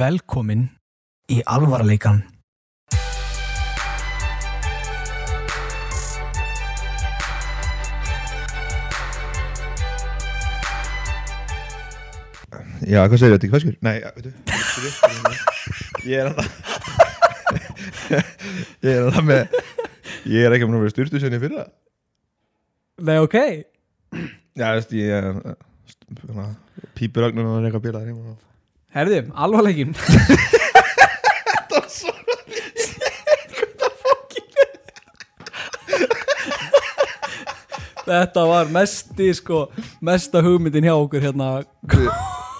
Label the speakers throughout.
Speaker 1: Velkomin í alvarleikan.
Speaker 2: Já, hvað segir þetta ekki feskur? Nei, ja, veitu veitu, veitu, veitu. Ég er hann Ég er hann með Ég er ekki að mér að vera styrtu sinni fyrir það
Speaker 1: Nei, ok.
Speaker 2: Já, veist, ég er eh, hana, Pípurögnun og eitthvað bílar heima og-
Speaker 1: Herði, alvarleikin. Þetta var mesti, sko, mesta hugmyndin hjá okkur hérna,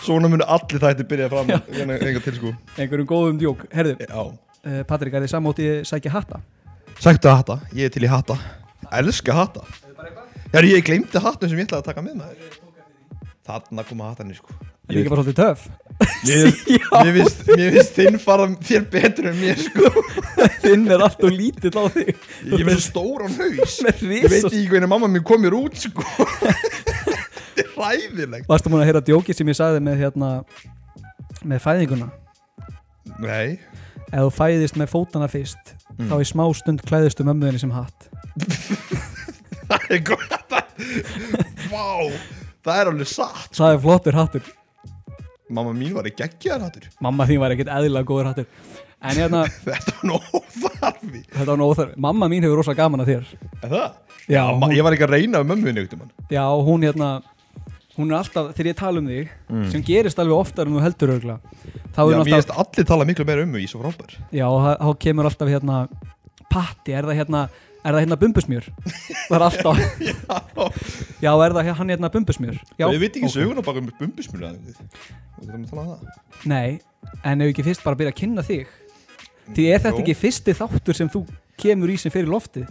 Speaker 2: Svona munu allir þætti byrja fram Enga enga til sko
Speaker 1: einhverjum góðum djók. Herði,
Speaker 2: Já
Speaker 1: uh, Patrik, er þið samátt í sækja hatta?
Speaker 2: Sæktu að hata, ég er til í hata Elska hata Já, ég gleymdi hatnum sem ég ætlaði að taka með maður Þarna koma hatanir sko
Speaker 1: Er þið ekki bara svolítið töf?
Speaker 2: Mér
Speaker 1: Já.
Speaker 2: mér finnst- mér finnst þinn fara þér betur en mér sko
Speaker 1: Þinn er allt og lítill á þig.
Speaker 2: Ég er með svo stóran haus
Speaker 1: Með
Speaker 2: Ég veit
Speaker 1: ris og...
Speaker 2: ekki hvernig mamma mér kom mér út sko Þetta er ræðilegt
Speaker 1: Varstu múin að heyra djókið sem ég sagði með hérna, með fæðinguna?
Speaker 2: Nei
Speaker 1: ef þú fæðist með fótana fyrst
Speaker 2: Mm.
Speaker 1: þá í smá stund klæðist um ömmuðinni sem hatt
Speaker 2: Það er góð Vá Það er alveg satt
Speaker 1: það er flottur hattur
Speaker 2: Mamma mín var í geggjaðar hattur
Speaker 1: mamma þín var ekkert eðlilega góður hattur en hérna,
Speaker 2: Þetta var nú óþarfi
Speaker 1: þetta var nú óþarf mamma mín hefur rosalega gaman að þér
Speaker 2: Er það?
Speaker 1: já,
Speaker 2: Ma,
Speaker 1: hún,
Speaker 2: ég var ekki að reyna um mömmu einhvern mann
Speaker 1: já, hún hérna hún er alltaf, þegar ég tala um þig sem gerist alveg oftar en þú heldur örgla þá er
Speaker 2: Mm. Já,
Speaker 1: hún
Speaker 2: mér
Speaker 1: alltaf,
Speaker 2: finnst allir tala miklu meira um mig í svo frábær
Speaker 1: já, þá- þá kemur alltaf hérna patti, er það hérna er það hérna bumbusmjör það er alltaf, já, er það hann hérna bumbusmjör já,
Speaker 2: Ég veit ekki
Speaker 1: ok.
Speaker 2: söguna baka um bumbusmjölu að þið Það er að tala um það
Speaker 1: Nei, en ef ekki fyrst bara byrja að kynna þig Því er þetta
Speaker 2: Jó.
Speaker 1: ekki fyrsti þáttur sem þú kemur í sem fyrir loftið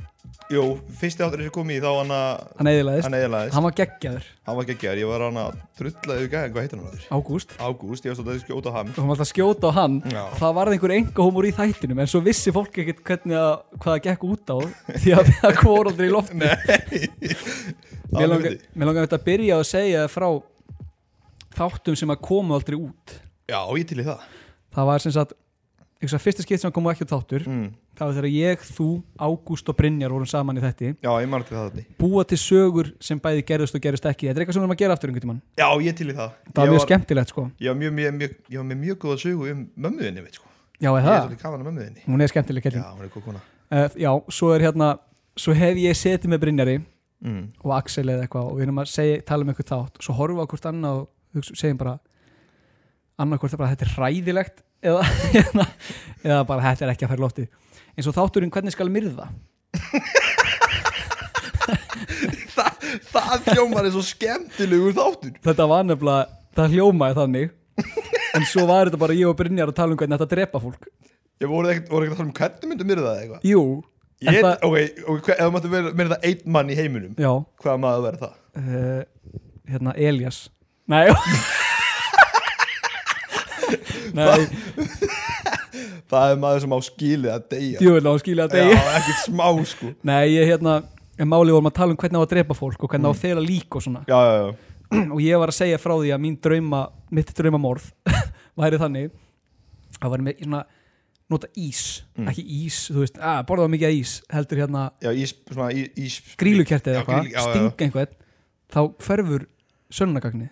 Speaker 2: Jú, fyrsti áttur sem kom í þá hann að
Speaker 1: Hann eðilaðist,
Speaker 2: Hann eðlaðist
Speaker 1: hann var geggjaður
Speaker 2: Hann var geggjar, ég var hann að drulla yfir gæðan, hvað heitir hann á þér?
Speaker 1: Ágúst
Speaker 2: Ágúst, ég var stóð að skjóta á hann
Speaker 1: og hann var alltaf að skjóta á hann
Speaker 2: Já.
Speaker 1: það varð einhver enga í þættinum en svo vissi fólk ekkert hvernig að hvað það gekk út á því að það kvór aldrei í lofti Mér langar,
Speaker 2: Alveg.
Speaker 1: mér langar þetta að byrja að segja þér frá þáttum sem að koma aldrei út
Speaker 2: Já, ég til í það
Speaker 1: það var sem sagt einhversa fyrsta skipt sem kom ekki á þáttur
Speaker 2: mm.
Speaker 1: það var þegar ég, þú, Ágúst og Brynjar vorum saman í þætti
Speaker 2: Já, ég margir það þetta
Speaker 1: búa til sögur sem bæði gerðust og gerðust ekki þetta er eitthvað sem við erum að gera aftur einhvern tímann
Speaker 2: Já, ég til í það
Speaker 1: það var
Speaker 2: Ég
Speaker 1: mjög skemmtilegt sko
Speaker 2: Ég var, mjög, mjög, mjög, ég var með mjög góða sögu um mömmuðinni, veit sko
Speaker 1: já,
Speaker 2: Ég
Speaker 1: er
Speaker 2: er
Speaker 1: það?
Speaker 2: svolítið kafan af mömmuðinni
Speaker 1: hún er skemmtileg
Speaker 2: Já,
Speaker 1: kelling já.
Speaker 2: hún er kokona
Speaker 1: Eh, já, svo er hérna svo hef ég setið með Brynjari
Speaker 2: mm.
Speaker 1: og Axel eða eitthvað og við erum að segja, tala um eitthvað þátt svo horfum við á hvort annað og hugsa- segjum bara annað hvort er bara þetta er hræðilegt eða, eða, eða bara þetta er ekki að færa lofti eins og þátturinn hvernig skal myrða
Speaker 2: það, það hljómar er svo skemmtilegur þáttur
Speaker 1: þetta var nefnilega, það hljómaði þannig en svo var þetta bara ég og Brynjar að tala um hvernig þetta drepa fólk
Speaker 2: Ég voru ekkert voru ekkert að tala um hvernig myndum mér það eitthvað
Speaker 1: jú, en
Speaker 2: Ég,
Speaker 1: það-
Speaker 2: ok, ok, hver- ef þú máttu mér það einn mann í heiminum
Speaker 1: já
Speaker 2: Hvað maður verið það?
Speaker 1: uh, hérna Elias Nei Nei,
Speaker 2: Það er maður sem á skilið að deyja
Speaker 1: djúvel á skilja að
Speaker 2: Já,
Speaker 1: degi
Speaker 2: ekkert smá sko
Speaker 1: Nei, ég hérna En málið vorum að tala um hvernig á að drepa fólk og hvernig á að fela lík og svona
Speaker 2: Já, já, Mm. já
Speaker 1: og ég var að segja frá því að mín drauma mitt draumamorð væri þannig að væri með svona nota ís,
Speaker 2: Mm.
Speaker 1: ekki ís, þú veist að borða mikið af ís, heldur hérna
Speaker 2: Já, ís, svona ís, ís
Speaker 1: grílukerti
Speaker 2: Já,
Speaker 1: eða eitthvað,
Speaker 2: grýlu- já, já, já.
Speaker 1: stinga einhvern þá hverfur sönnagagnið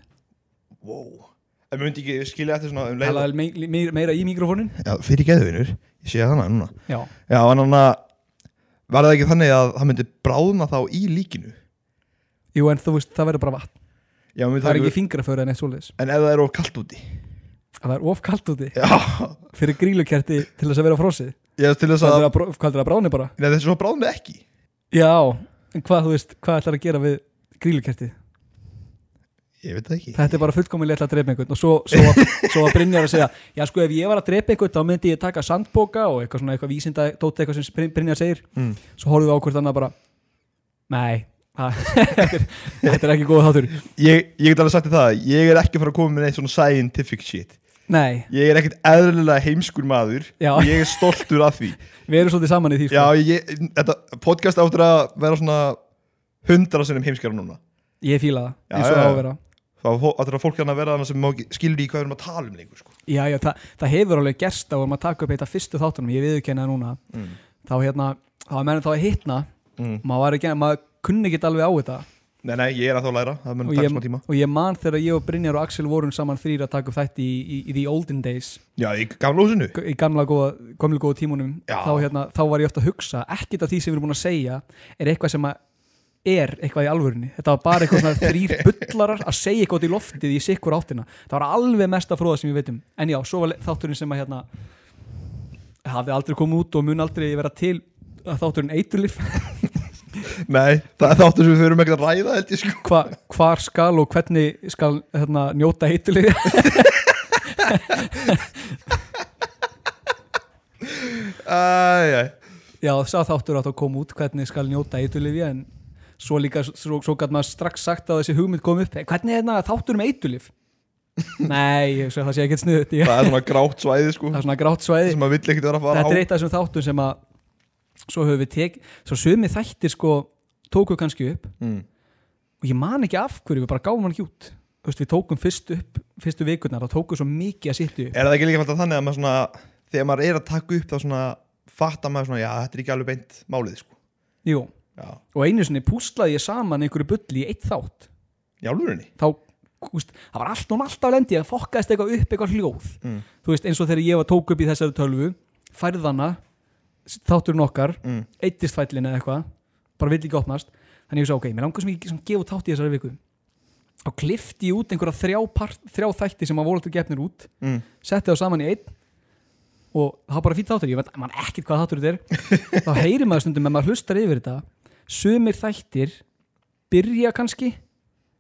Speaker 2: Wow En myndi ekki skilja eftir svona um leið
Speaker 1: talaði me- me- meira í mikrofónin
Speaker 2: Já, fyrir geðvinur, ég sé það hana núna
Speaker 1: Já,
Speaker 2: Já, en hann að Var það ekki þannig að það myndi bráðna þá í líkinu
Speaker 1: jú en þú veist það verður bara vatn
Speaker 2: Já, myndi
Speaker 1: Það er ekki fingraföru en eitt svoleiðis
Speaker 2: En ef það er of kallt úti
Speaker 1: Það er of kalt úti
Speaker 2: Já,
Speaker 1: fyrir grílukerti til þess að vera frosið
Speaker 2: ég veist til þess
Speaker 1: Hvað
Speaker 2: að
Speaker 1: er að, hvað er að bráni bara?
Speaker 2: Nei, þessi svo bráðna ekki
Speaker 1: Já, en hvað þú veist, hvað ætlar að gera við grílukerti?
Speaker 2: Ég veit það ekki
Speaker 1: Þetta er bara fullkominlega ætla að drepa einhvern og svo, svo, svo að Brynjar að segja Já sko ef ég var að drepa einhvern þá myndi ég taka sandbóka og eitthvað svona eitthvað vísinda dóti eitthvað sem Bryn- Brynjar segir
Speaker 2: Mm.
Speaker 1: Svo horfum við á hvort annað bara Nei, það- þetta er- þetta er ekki góð þáttur
Speaker 2: ég, ég get alveg sagt þér það Ég er ekki að fara að koma með neitt svona scientific shit
Speaker 1: Nei,
Speaker 2: Ég er ekkert eðlilega heimskur maður
Speaker 1: Já.
Speaker 2: Og ég er stoltur af því
Speaker 1: við erum svolítið saman í því sko.
Speaker 2: Já, ég, þetta podcast áttur að vera svona Hundra sinnum heimskara núna
Speaker 1: Ég fíla það,
Speaker 2: Já,
Speaker 1: eins og
Speaker 2: já,
Speaker 1: það á
Speaker 2: já.
Speaker 1: að vera
Speaker 2: Það var allra fólk hérna að vera þannig sem má ekki skilur í hvað við erum að tala um lengur sko.
Speaker 1: Já, já, það, það hefur alveg gerst að vorum að taka upp þetta fyrstu þáttunum, ég viðurkenna það núna
Speaker 2: Mm.
Speaker 1: þá hérna, þá var meðan þá að hitna
Speaker 2: Mm.
Speaker 1: maður var ekki, maður kunni ekki alveg á þetta
Speaker 2: Nei, nei, ég er að þá læra, það mun
Speaker 1: og
Speaker 2: taka
Speaker 1: ég,
Speaker 2: smá tíma
Speaker 1: og ég man þegar ég og Brynjar og Axel vorum saman þrýr að taka upp þetta í, í, í the olden days
Speaker 2: Já, í gamla húsinu
Speaker 1: í gamla góða, gamla góða tímunum
Speaker 2: Já.
Speaker 1: þá, hérna, þá var ég ofta að hugsa, ekkert af því sem við erum búin að segja er eitthvað sem að er eitthvað í alvörinni, þetta var bara eitthvað svona þrýr bullarar að segja eitthvað út í loftið í sikkur áttina, það var alveg mesta fróða sem við veitum, en já, svo var le- þátturinn sem að hérna hafði aldrei komið út og mun aldrei vera til að þátturinn eiturlif,
Speaker 2: Nei, það er þáttur sem við þurfum ekkert að ræða held ég sko
Speaker 1: hva, hvar skal og hvernig skal hérna, njóta eiturlif
Speaker 2: Æ, æ,
Speaker 1: Já, sá þáttur átt að koma út hvernig skal njóta eitulif en svo líka, svo, svo gæt maður strax sagt að þessi hugmynd kom upp, "Eh, hvernig er þetta þáttur um eitulif? Nei, ég, svo, það sé ekkert sniðut ég,
Speaker 2: það er svona grátt svæði sko
Speaker 1: það er svona grátt svæði
Speaker 2: sem maður vill ekkert vera að fara
Speaker 1: þetta
Speaker 2: á
Speaker 1: er eitt af þessum þáttum sem að svo höfum við tek, svo sumi þættir sko tóku kannski upp
Speaker 2: Mm.
Speaker 1: og ég man ekki af hverju, við bara gáum hann ekki út Þú veist, við tókum fyrst upp, fyrstu vikurnar og tókum svo mikið að sittu
Speaker 2: Er það ekki líka alltaf þannig að maður svona þegar maður er að taka upp þá svona fattar maður svona, já, þetta er ekki alveg beint málið sko
Speaker 1: Jú,
Speaker 2: Já,
Speaker 1: og einu sinni púslaði ég saman einhverju bulli í eitt þátt
Speaker 2: í alvörinni
Speaker 1: þá úst, það var allt og alltaf lendi að fokkaðist eitthvað upp eitthvað hljóð
Speaker 2: Mm.
Speaker 1: þú veist eins og þegar ég var tók upp í þessari tölvu færðana, þátturinn okkar
Speaker 2: mm.
Speaker 1: eittist fællin eða eitthvað bara vill ekki opnast þannig ég svo ok, mér langar sem ekki sem gefa út þátt í þessari viku þá klifti ég út einhverja þrjá, part, þrjá þætti sem að voru alltaf gefnir út
Speaker 2: Mm.
Speaker 1: setti þá saman í einn og það var bara fýtt þáttur, ég veit mann ekkert hvað þáttur þetta er þá heyrir maður stundum en maður hlustar yfir þetta sumir þættir byrja kannski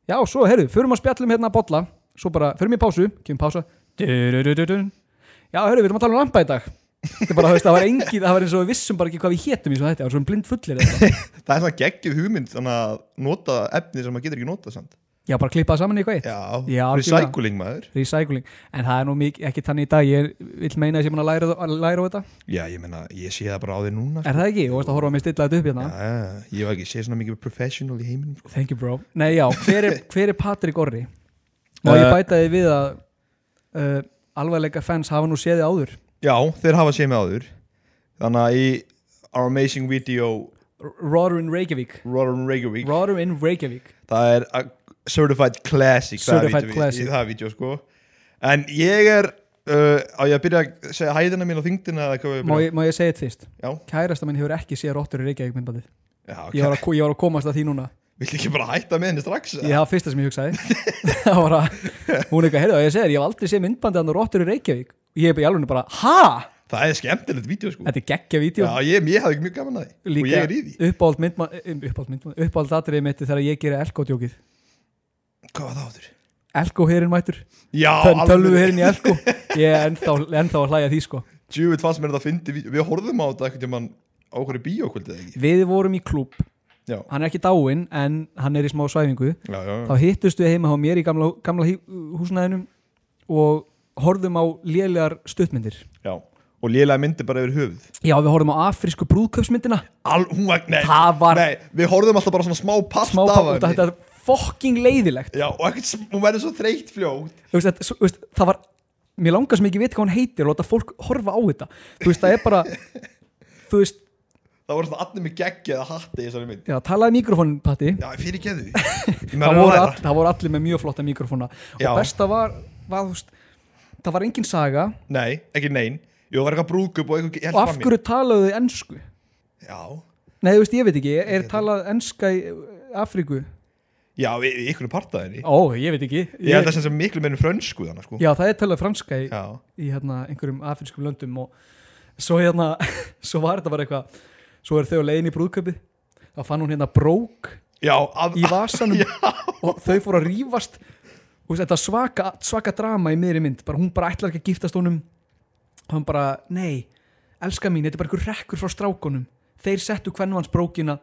Speaker 1: já, svo heyrðu, förum að spjallum hérna að bolla svo bara, förum í pásu, kemum pása Du-du-du-du-dun. já, heyrðu, við erum að tala um lampa í dag þetta er bara, þú veist, það var engi það var eins og við vissum bara ekki hvað við hétum í svo þetta það var svona blind fullir eða eitthvað.
Speaker 2: Það er svona geggjum hugmynd þannig að nota efni sem maður getur ekki notað samt
Speaker 1: já, bara klippa það saman í eitthvað eitt
Speaker 2: Já,
Speaker 1: Já, algjörlega.
Speaker 2: recycling maður
Speaker 1: recycling, en það er nú mikið, ekki þannig í dag ég vil meina að ég er búin að læra, að læra á þetta
Speaker 2: Já, ég meina, ég sé það bara á þér núna sko.
Speaker 1: er það ekki, og þú veist að horfa að mér stilla þetta upp hérna
Speaker 2: Já, já, Ah, ég hef ekki séð svona mikið um professional í heiminum sko.
Speaker 1: Thank you bro Nei já, hver er, hver er Patrik Orri? Má ég
Speaker 2: Eh.
Speaker 1: bæta því við að uh, alvarleika fans hafa nú séði áður
Speaker 2: Já, þeir hafa séð með áður Þannig að í Our Amazing Video
Speaker 1: Rotter in Reykjavík
Speaker 2: Rotten Reykjavík
Speaker 1: Rotter in Reykjavík
Speaker 2: Það er a Certified Classic
Speaker 1: Certified
Speaker 2: það er vídeó-
Speaker 1: classic.
Speaker 2: í- Það er vídeo sko En ég er uh, Á ég að byrja að segja hæðina mín og þyngdina eða hvað á ég að
Speaker 1: má
Speaker 2: byrja?
Speaker 1: ég, má ég segja þetta fyrst?
Speaker 2: Já.
Speaker 1: Kærasta minn hefur ekki séð Rotter in Reykjavík myndbandið
Speaker 2: Já,
Speaker 1: ég,
Speaker 2: okay.
Speaker 1: var að ko- ég var að komast að því núna
Speaker 2: Viltu ekki bara hætta með henni strax?
Speaker 1: Ég hafa fyrsta sem ég hugsaði Það var að Hún eitthvað, heyrðu, ég segir, ég hef aldrei séð myndbandið hann og Rotter in Reykjavík og ég er bara í alveg bara, ha?
Speaker 2: Það er skemmtilegt vídeo sko
Speaker 1: Þetta er geggja vídeo
Speaker 2: Já, ég, ég hafði mjög gaman að því Og
Speaker 1: Líka
Speaker 2: ég er í því
Speaker 1: uppáhald myndma- um, uppáhald myndma- uppáhald atriðið mitt er þegar ég geri Elko-djókið.
Speaker 2: Hvað var það áður?
Speaker 1: Elko-herinn mættur.
Speaker 2: Já,
Speaker 1: tölvu hérna í elku ég er ennþá, ennþá að hlæja því sko
Speaker 2: Djúvitt fannst mér þetta að fyndi vídeo Við horfðum á þetta eitthvað tímann á hverju bíókvöldið ekki
Speaker 1: við vorum í klúb,
Speaker 2: Já,
Speaker 1: hann er ekki dáinn en hann er í smá svæfingu
Speaker 2: já, já, já.
Speaker 1: þá hittust við heima á mér í gamla, gamla hí- húsnæðinum og horfðum á lélegar stuttmyndir
Speaker 2: já. Og lélega myndi bara yfir höfuð
Speaker 1: já við horfðum á afrísku brúðköpsmyndina
Speaker 2: Al, hún var, nei,
Speaker 1: Það var-
Speaker 2: nei, við horfðum alltaf bara svona smá pasta
Speaker 1: smá
Speaker 2: af
Speaker 1: pátta,
Speaker 2: henni.
Speaker 1: þetta er fokking leiðilegt
Speaker 2: Já, og ekkert, sm- hún verður svo þreytt fljótt
Speaker 1: Þú veist, þetta, svo- þú veist, það var, mér langar sem ekki veit hvað hún heitir og láta fólk horfa á þetta þú veist það er bara þú veist,
Speaker 2: Það voru alltaf allir með geggja eða hatti í þessari mynd
Speaker 1: já talaði mikrofónin patti
Speaker 2: Já, fyrir geðu Ég
Speaker 1: það
Speaker 2: meðan
Speaker 1: voru,
Speaker 2: voru
Speaker 1: all,
Speaker 2: þetta
Speaker 1: það voru allir með mjög flotta mikrofóna
Speaker 2: Já.
Speaker 1: og besta var, var þú veist, það var engin saga
Speaker 2: Nei, ekki nein Jú, það var eitthvað brúkup og eitthvað ég held
Speaker 1: og af
Speaker 2: fram í.
Speaker 1: hverju talaðu þið ensku
Speaker 2: Já,
Speaker 1: nei, þú veist, ég veit ekki, er talað enska í Afríku?
Speaker 2: já, í í einhverju partaðinni
Speaker 1: ó, ég veit ekki
Speaker 2: Ég held þess að miklu meirinn frönsku þannig sko
Speaker 1: já, það er talað franska í,
Speaker 2: Já,
Speaker 1: í hérna, einhverjum afrískum löndum og svo hérna svo var þetta bara eitthvað svo er þau á leiðin í brúðköpi þá fann hún hérna brók
Speaker 2: já að,
Speaker 1: í vasanum
Speaker 2: Já.
Speaker 1: og þau fóru að rífast Þú veist, þetta svaka, svaka drama í miðri mynd bara, hún bara ætlar ekki að giftast honum hann bara, nei, elska mín þetta er bara einhver rekkur frá strákonum þeir settu hvernig hans brókina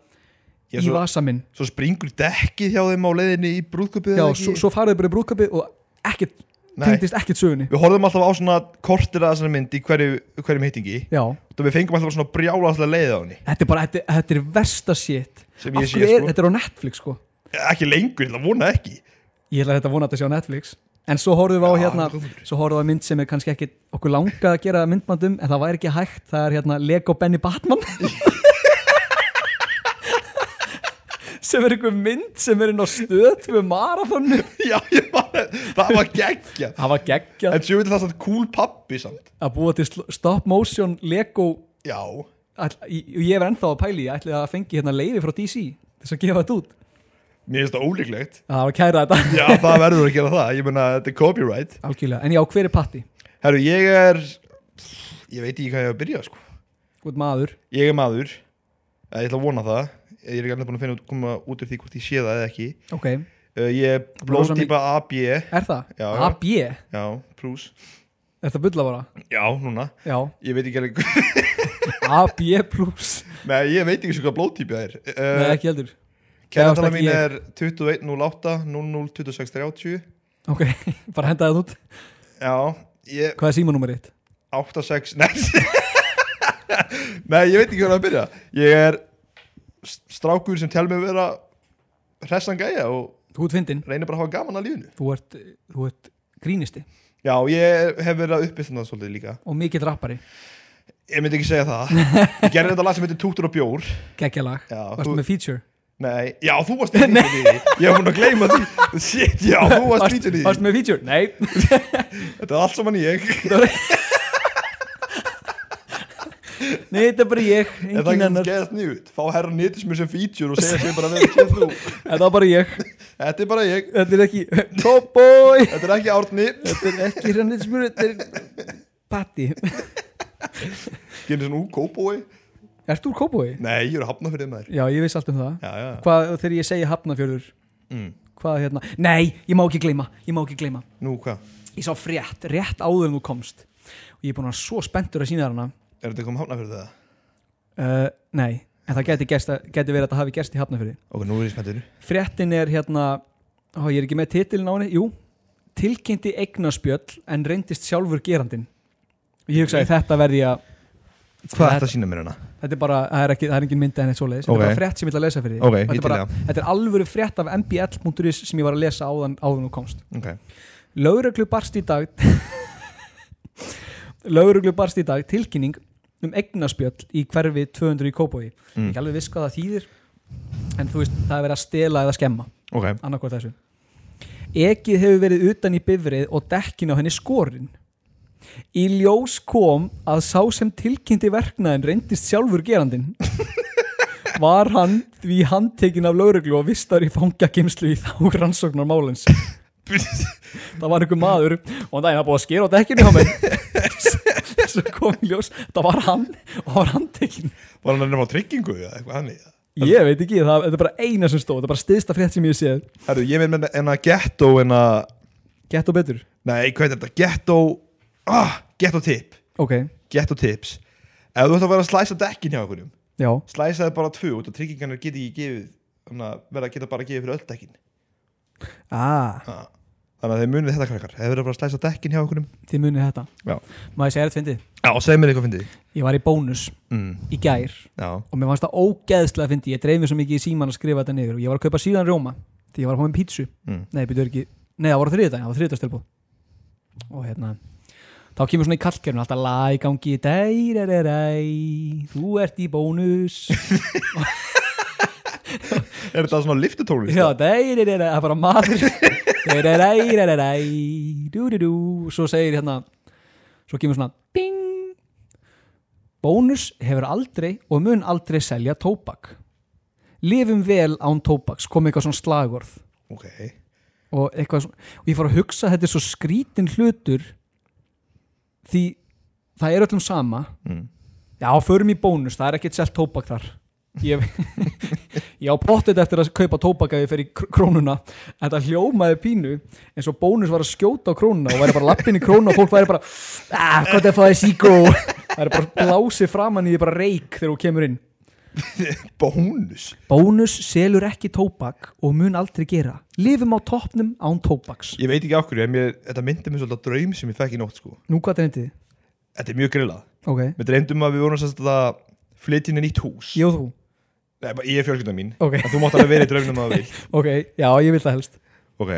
Speaker 2: Já,
Speaker 1: í
Speaker 2: svo-
Speaker 1: vasa minn
Speaker 2: Svo springur dekkið hjá þeim á leiðinni í brúkupið
Speaker 1: já, svo, svo faraðu bara í brúkabi og ekkert,
Speaker 2: Nei.
Speaker 1: tengdist ekkert sögunni
Speaker 2: Við horfðum alltaf á svona kortir að þessari mynd í hverju, hverjum hittingi
Speaker 1: já,
Speaker 2: og við fengum alltaf svona brjála alltaf leið á henni
Speaker 1: þetta er bara, þetta, þetta er versta shit
Speaker 2: Sem ég
Speaker 1: Af
Speaker 2: sé,
Speaker 1: hverju er,
Speaker 2: sko.
Speaker 1: þetta er á Netflix sko
Speaker 2: Ekki lengur, það vona ekki
Speaker 1: ég ætla þetta að vona að þetta sé á Netflix en svo horfðum við á
Speaker 2: Já,
Speaker 1: hérna
Speaker 2: góður.
Speaker 1: svo horfðum við á mynd sem er kannski ekki okkur langað að gera myndbandum en það væri ekki hægt, það er hérna Lego Benny Batman sem er einhver mynd sem er inn á stöð með marathonu
Speaker 2: Já, ég bara, það var geggja
Speaker 1: það var geggjað
Speaker 2: En svo veit það samt cool pappi samt
Speaker 1: að búa til sl- stop motion Lego
Speaker 2: Já,
Speaker 1: all, ég, ég er ennþá að pæli, ég ætli að fengi hérna leiði frá DC til þess að gefa þetta út
Speaker 2: mér finnst það ólíklegt
Speaker 1: að það var kæra þetta
Speaker 2: Já, það verður að gera það, ég meina, þetta er copyright
Speaker 1: algjörlega, en já, hver er Patti?
Speaker 2: Herru, ég er Ég veit ekki hvað ég hef að byrja, sko
Speaker 1: Hvort maður
Speaker 2: Ég er maður, eh, ég ætla að vona það Eh, Ég er ekki alveg búin að finna út, koma út úr því hvort ég sé það eða ekki
Speaker 1: ok, er
Speaker 2: uh, Ég er
Speaker 1: Rosa
Speaker 2: blóðtýpa AB Já,
Speaker 1: það?
Speaker 2: Já, já.
Speaker 1: AB, er
Speaker 2: plus
Speaker 1: þetta bulla bara?
Speaker 2: Já, núna
Speaker 1: Já,
Speaker 2: Ég veit ekki alveg
Speaker 1: AB plus
Speaker 2: Nei, ég veit ekki svo hvað blóðtýpa það er
Speaker 1: Nei,
Speaker 2: uh,
Speaker 1: ekki heldur
Speaker 2: Kennatala
Speaker 1: ekki
Speaker 2: mín
Speaker 1: ég.
Speaker 2: er 2108 002630
Speaker 1: Ok, bara henda það út
Speaker 2: Já, ég
Speaker 1: Hvað er símanúmer þitt?
Speaker 2: 86 Nei, Nei ég veit ekki hvað að byrja Ég er s- strákur sem tel mig vera hressan gæja og
Speaker 1: Þú ert fyndin
Speaker 2: reynir bara að hafa gaman að lífinu
Speaker 1: Þú ert, þú ert grínisti
Speaker 2: Já, ég hef verið að uppbytta það svolítið líka
Speaker 1: Og mikill rappari
Speaker 2: Ég myndi ekki segja það Ég gerði þetta lag sem heitir Túttur og bjór
Speaker 1: Gekkjalag
Speaker 2: Já,
Speaker 1: Varst
Speaker 2: þú-
Speaker 1: með feature
Speaker 2: Nei, já, þú varst í því Ég hef búin að gleyma því Shit, já, þú varst í því
Speaker 1: Varst með feature? Nei
Speaker 2: Þetta er allt saman ég
Speaker 1: Nei, þetta er bara ég
Speaker 2: En það
Speaker 1: Engin
Speaker 2: getur
Speaker 1: annar
Speaker 2: geðast nýtt Fá herra nýttis mér sem feature og segja sem bara vel séð þú
Speaker 1: Þetta er bara ég
Speaker 2: Þetta er bara ég
Speaker 1: Þetta er ekki Cowboy
Speaker 2: Þetta er ekki árni
Speaker 1: Þetta er ekki hrannir smur Þetta er Patti
Speaker 2: Gerir svona úkóbói
Speaker 1: Ert þú Cowboy?
Speaker 2: Nei, ég er að hafna fyrir maður
Speaker 1: Já, ég veist allt um það
Speaker 2: Já, já
Speaker 1: Hvað þegar ég segi hafnafjörður
Speaker 2: mm.
Speaker 1: Hvað hérna Nei, ég má ekki gleyma Ég má ekki gleyma
Speaker 2: Nú, hvað?
Speaker 1: ég sá frétt, rétt áður en þú komst og ég er búin að vera svo spenntur að sína þér hana
Speaker 2: Er þetta komið hafna fyrir það?
Speaker 1: uh, nei, en það geti, gerst, að- geti verið að það hafi gerst í hafnafyrði
Speaker 2: Ok, nú er ég spenntur
Speaker 1: fréttin er hérna ó, ég er ekki með titilin á henni, jú tilkynnti eignaspjöll en reyndist sjálfur gerandin og ég hugsaði þetta verði að
Speaker 2: Hvað er þetta að sína mér hérna? hana?
Speaker 1: þetta er bara, það er, ekki, það er engin myndi en eitt svoleiðis
Speaker 2: Ok.
Speaker 1: þetta er bara frétt sem ég ætla að lesa fyrir því
Speaker 2: Ok,
Speaker 1: þetta,
Speaker 2: ég
Speaker 1: er bara,
Speaker 2: til
Speaker 1: þetta er alvöru frétt af mbl.is sem ég var að lesa áðan, áðan og komst
Speaker 2: Ok
Speaker 1: Lauruglu barst í dag Lauruglu barst í dag tilkynning um eignaspjöll í hverfi 200 í Kópói
Speaker 2: Mm.
Speaker 1: ekki alveg viss hvað það þýðir en þú veist, það er verið að stela eða skemma
Speaker 2: Ok
Speaker 1: annarkvært þessu Ekið hefur verið utan í bifrið og dekkin á henni skorinn Í ljós kom að sá sem tilkynnti verknaðin reyndist sjálfur gerandin Var hann því handtekinn af lauruglu og vistar í fangakimslu í þá rannsóknar málins það var einhver maður og það er að búið að skera á dekkinu hjá mig svo kom í ljós, það var hann og það var handtekinn
Speaker 2: Var hann að nefna á tryggingu eða eitthvað hann í það?
Speaker 1: ég veit ekki, það, þetta er bara eina sem stóð það er bara stiðsta frétt sem ég séð
Speaker 2: Herru, ég veit með enna ghetto enna
Speaker 1: gett og betur,
Speaker 2: Nei, hvað er þetta? Ghetto Ah, ghetto tip
Speaker 1: ok,
Speaker 2: Ghetto tips Ef þú ætti að vera að slæsa dekkin hjá einhverjum
Speaker 1: já
Speaker 2: Slæsaði bara tvö út og tryggingarnar geti ekki gefið Þannig að verða að geta bara gefið fyrir öll dekkin
Speaker 1: ah,
Speaker 2: ah. Þannig að þeir munið þetta krakkar Ef þeir eru bara að slæsa dekkin hjá einhverjum
Speaker 1: þið munið þetta
Speaker 2: Já.
Speaker 1: má ég segja þetta fyndið,
Speaker 2: Já, segð mér eitthvað fyndið
Speaker 1: ég var í bónus
Speaker 2: mm.
Speaker 1: í gær
Speaker 2: Já
Speaker 1: og mér fannst það ógeðslega fyndið ég dreif mér svo mikið í síman að skrifa þetta niður og ég var að kaupa síðan rjóma því ég var að fá mér pítsu
Speaker 2: mm.
Speaker 1: nei, byrju ekki, nei það voru þriðdæðin, það var þriðdæðstilbúð og hérna þá kemur svona í kallkerfinu alltaf lag í gangi dæraræræ, þú ert í bónus
Speaker 2: Er þetta svona liftutónlist?
Speaker 1: já, dæraræræ, það er bara maður dæraræræræræ dú-dú-dú, svo segir hérna svo kemur svona bing bónus hefur aldrei og mun aldrei selja tóbak lifum vel án tóbaks kom eitthvað svona slagorð
Speaker 2: Ok
Speaker 1: og eitthvað svona og ég fór að hugsa að þetta er svo skrítin hlutur því það er öllum sama
Speaker 2: mm.
Speaker 1: já, förum í bónus, það er ekkert selt tóbak þar ég, ég á pottet eftir að kaupa tóbak ef ég fer í kr- krónuna en það hljómaði pínu eins og bónus var að skjóta á krónuna og væri bara lappin í krónuna og fólk væri bara ah, hvað er að fá þér síkó það er bara blásið framan í því bara reik þegar þú kemur inn
Speaker 2: Bónus
Speaker 1: bónus selur ekki tóbak og mun aldrei gera lifum á toppnum án tóbaks
Speaker 2: Ég veit ekki af hverju, en mér, þetta myndi mér svolítið á draum sem ég fekk í nótt sko
Speaker 1: nú hvað er þetta?
Speaker 2: Þetta er mjög grillað
Speaker 1: Ok,
Speaker 2: Mér dreymdum að við vorum sérst að flytja inn í nýtt hús
Speaker 1: ég og þú
Speaker 2: Nei, bara- Ég er fjölskyldan mín
Speaker 1: Ok,
Speaker 2: En þú mátt alveg verið í draumnum að þú vil
Speaker 1: ok, já, ég vil það helst
Speaker 2: Ok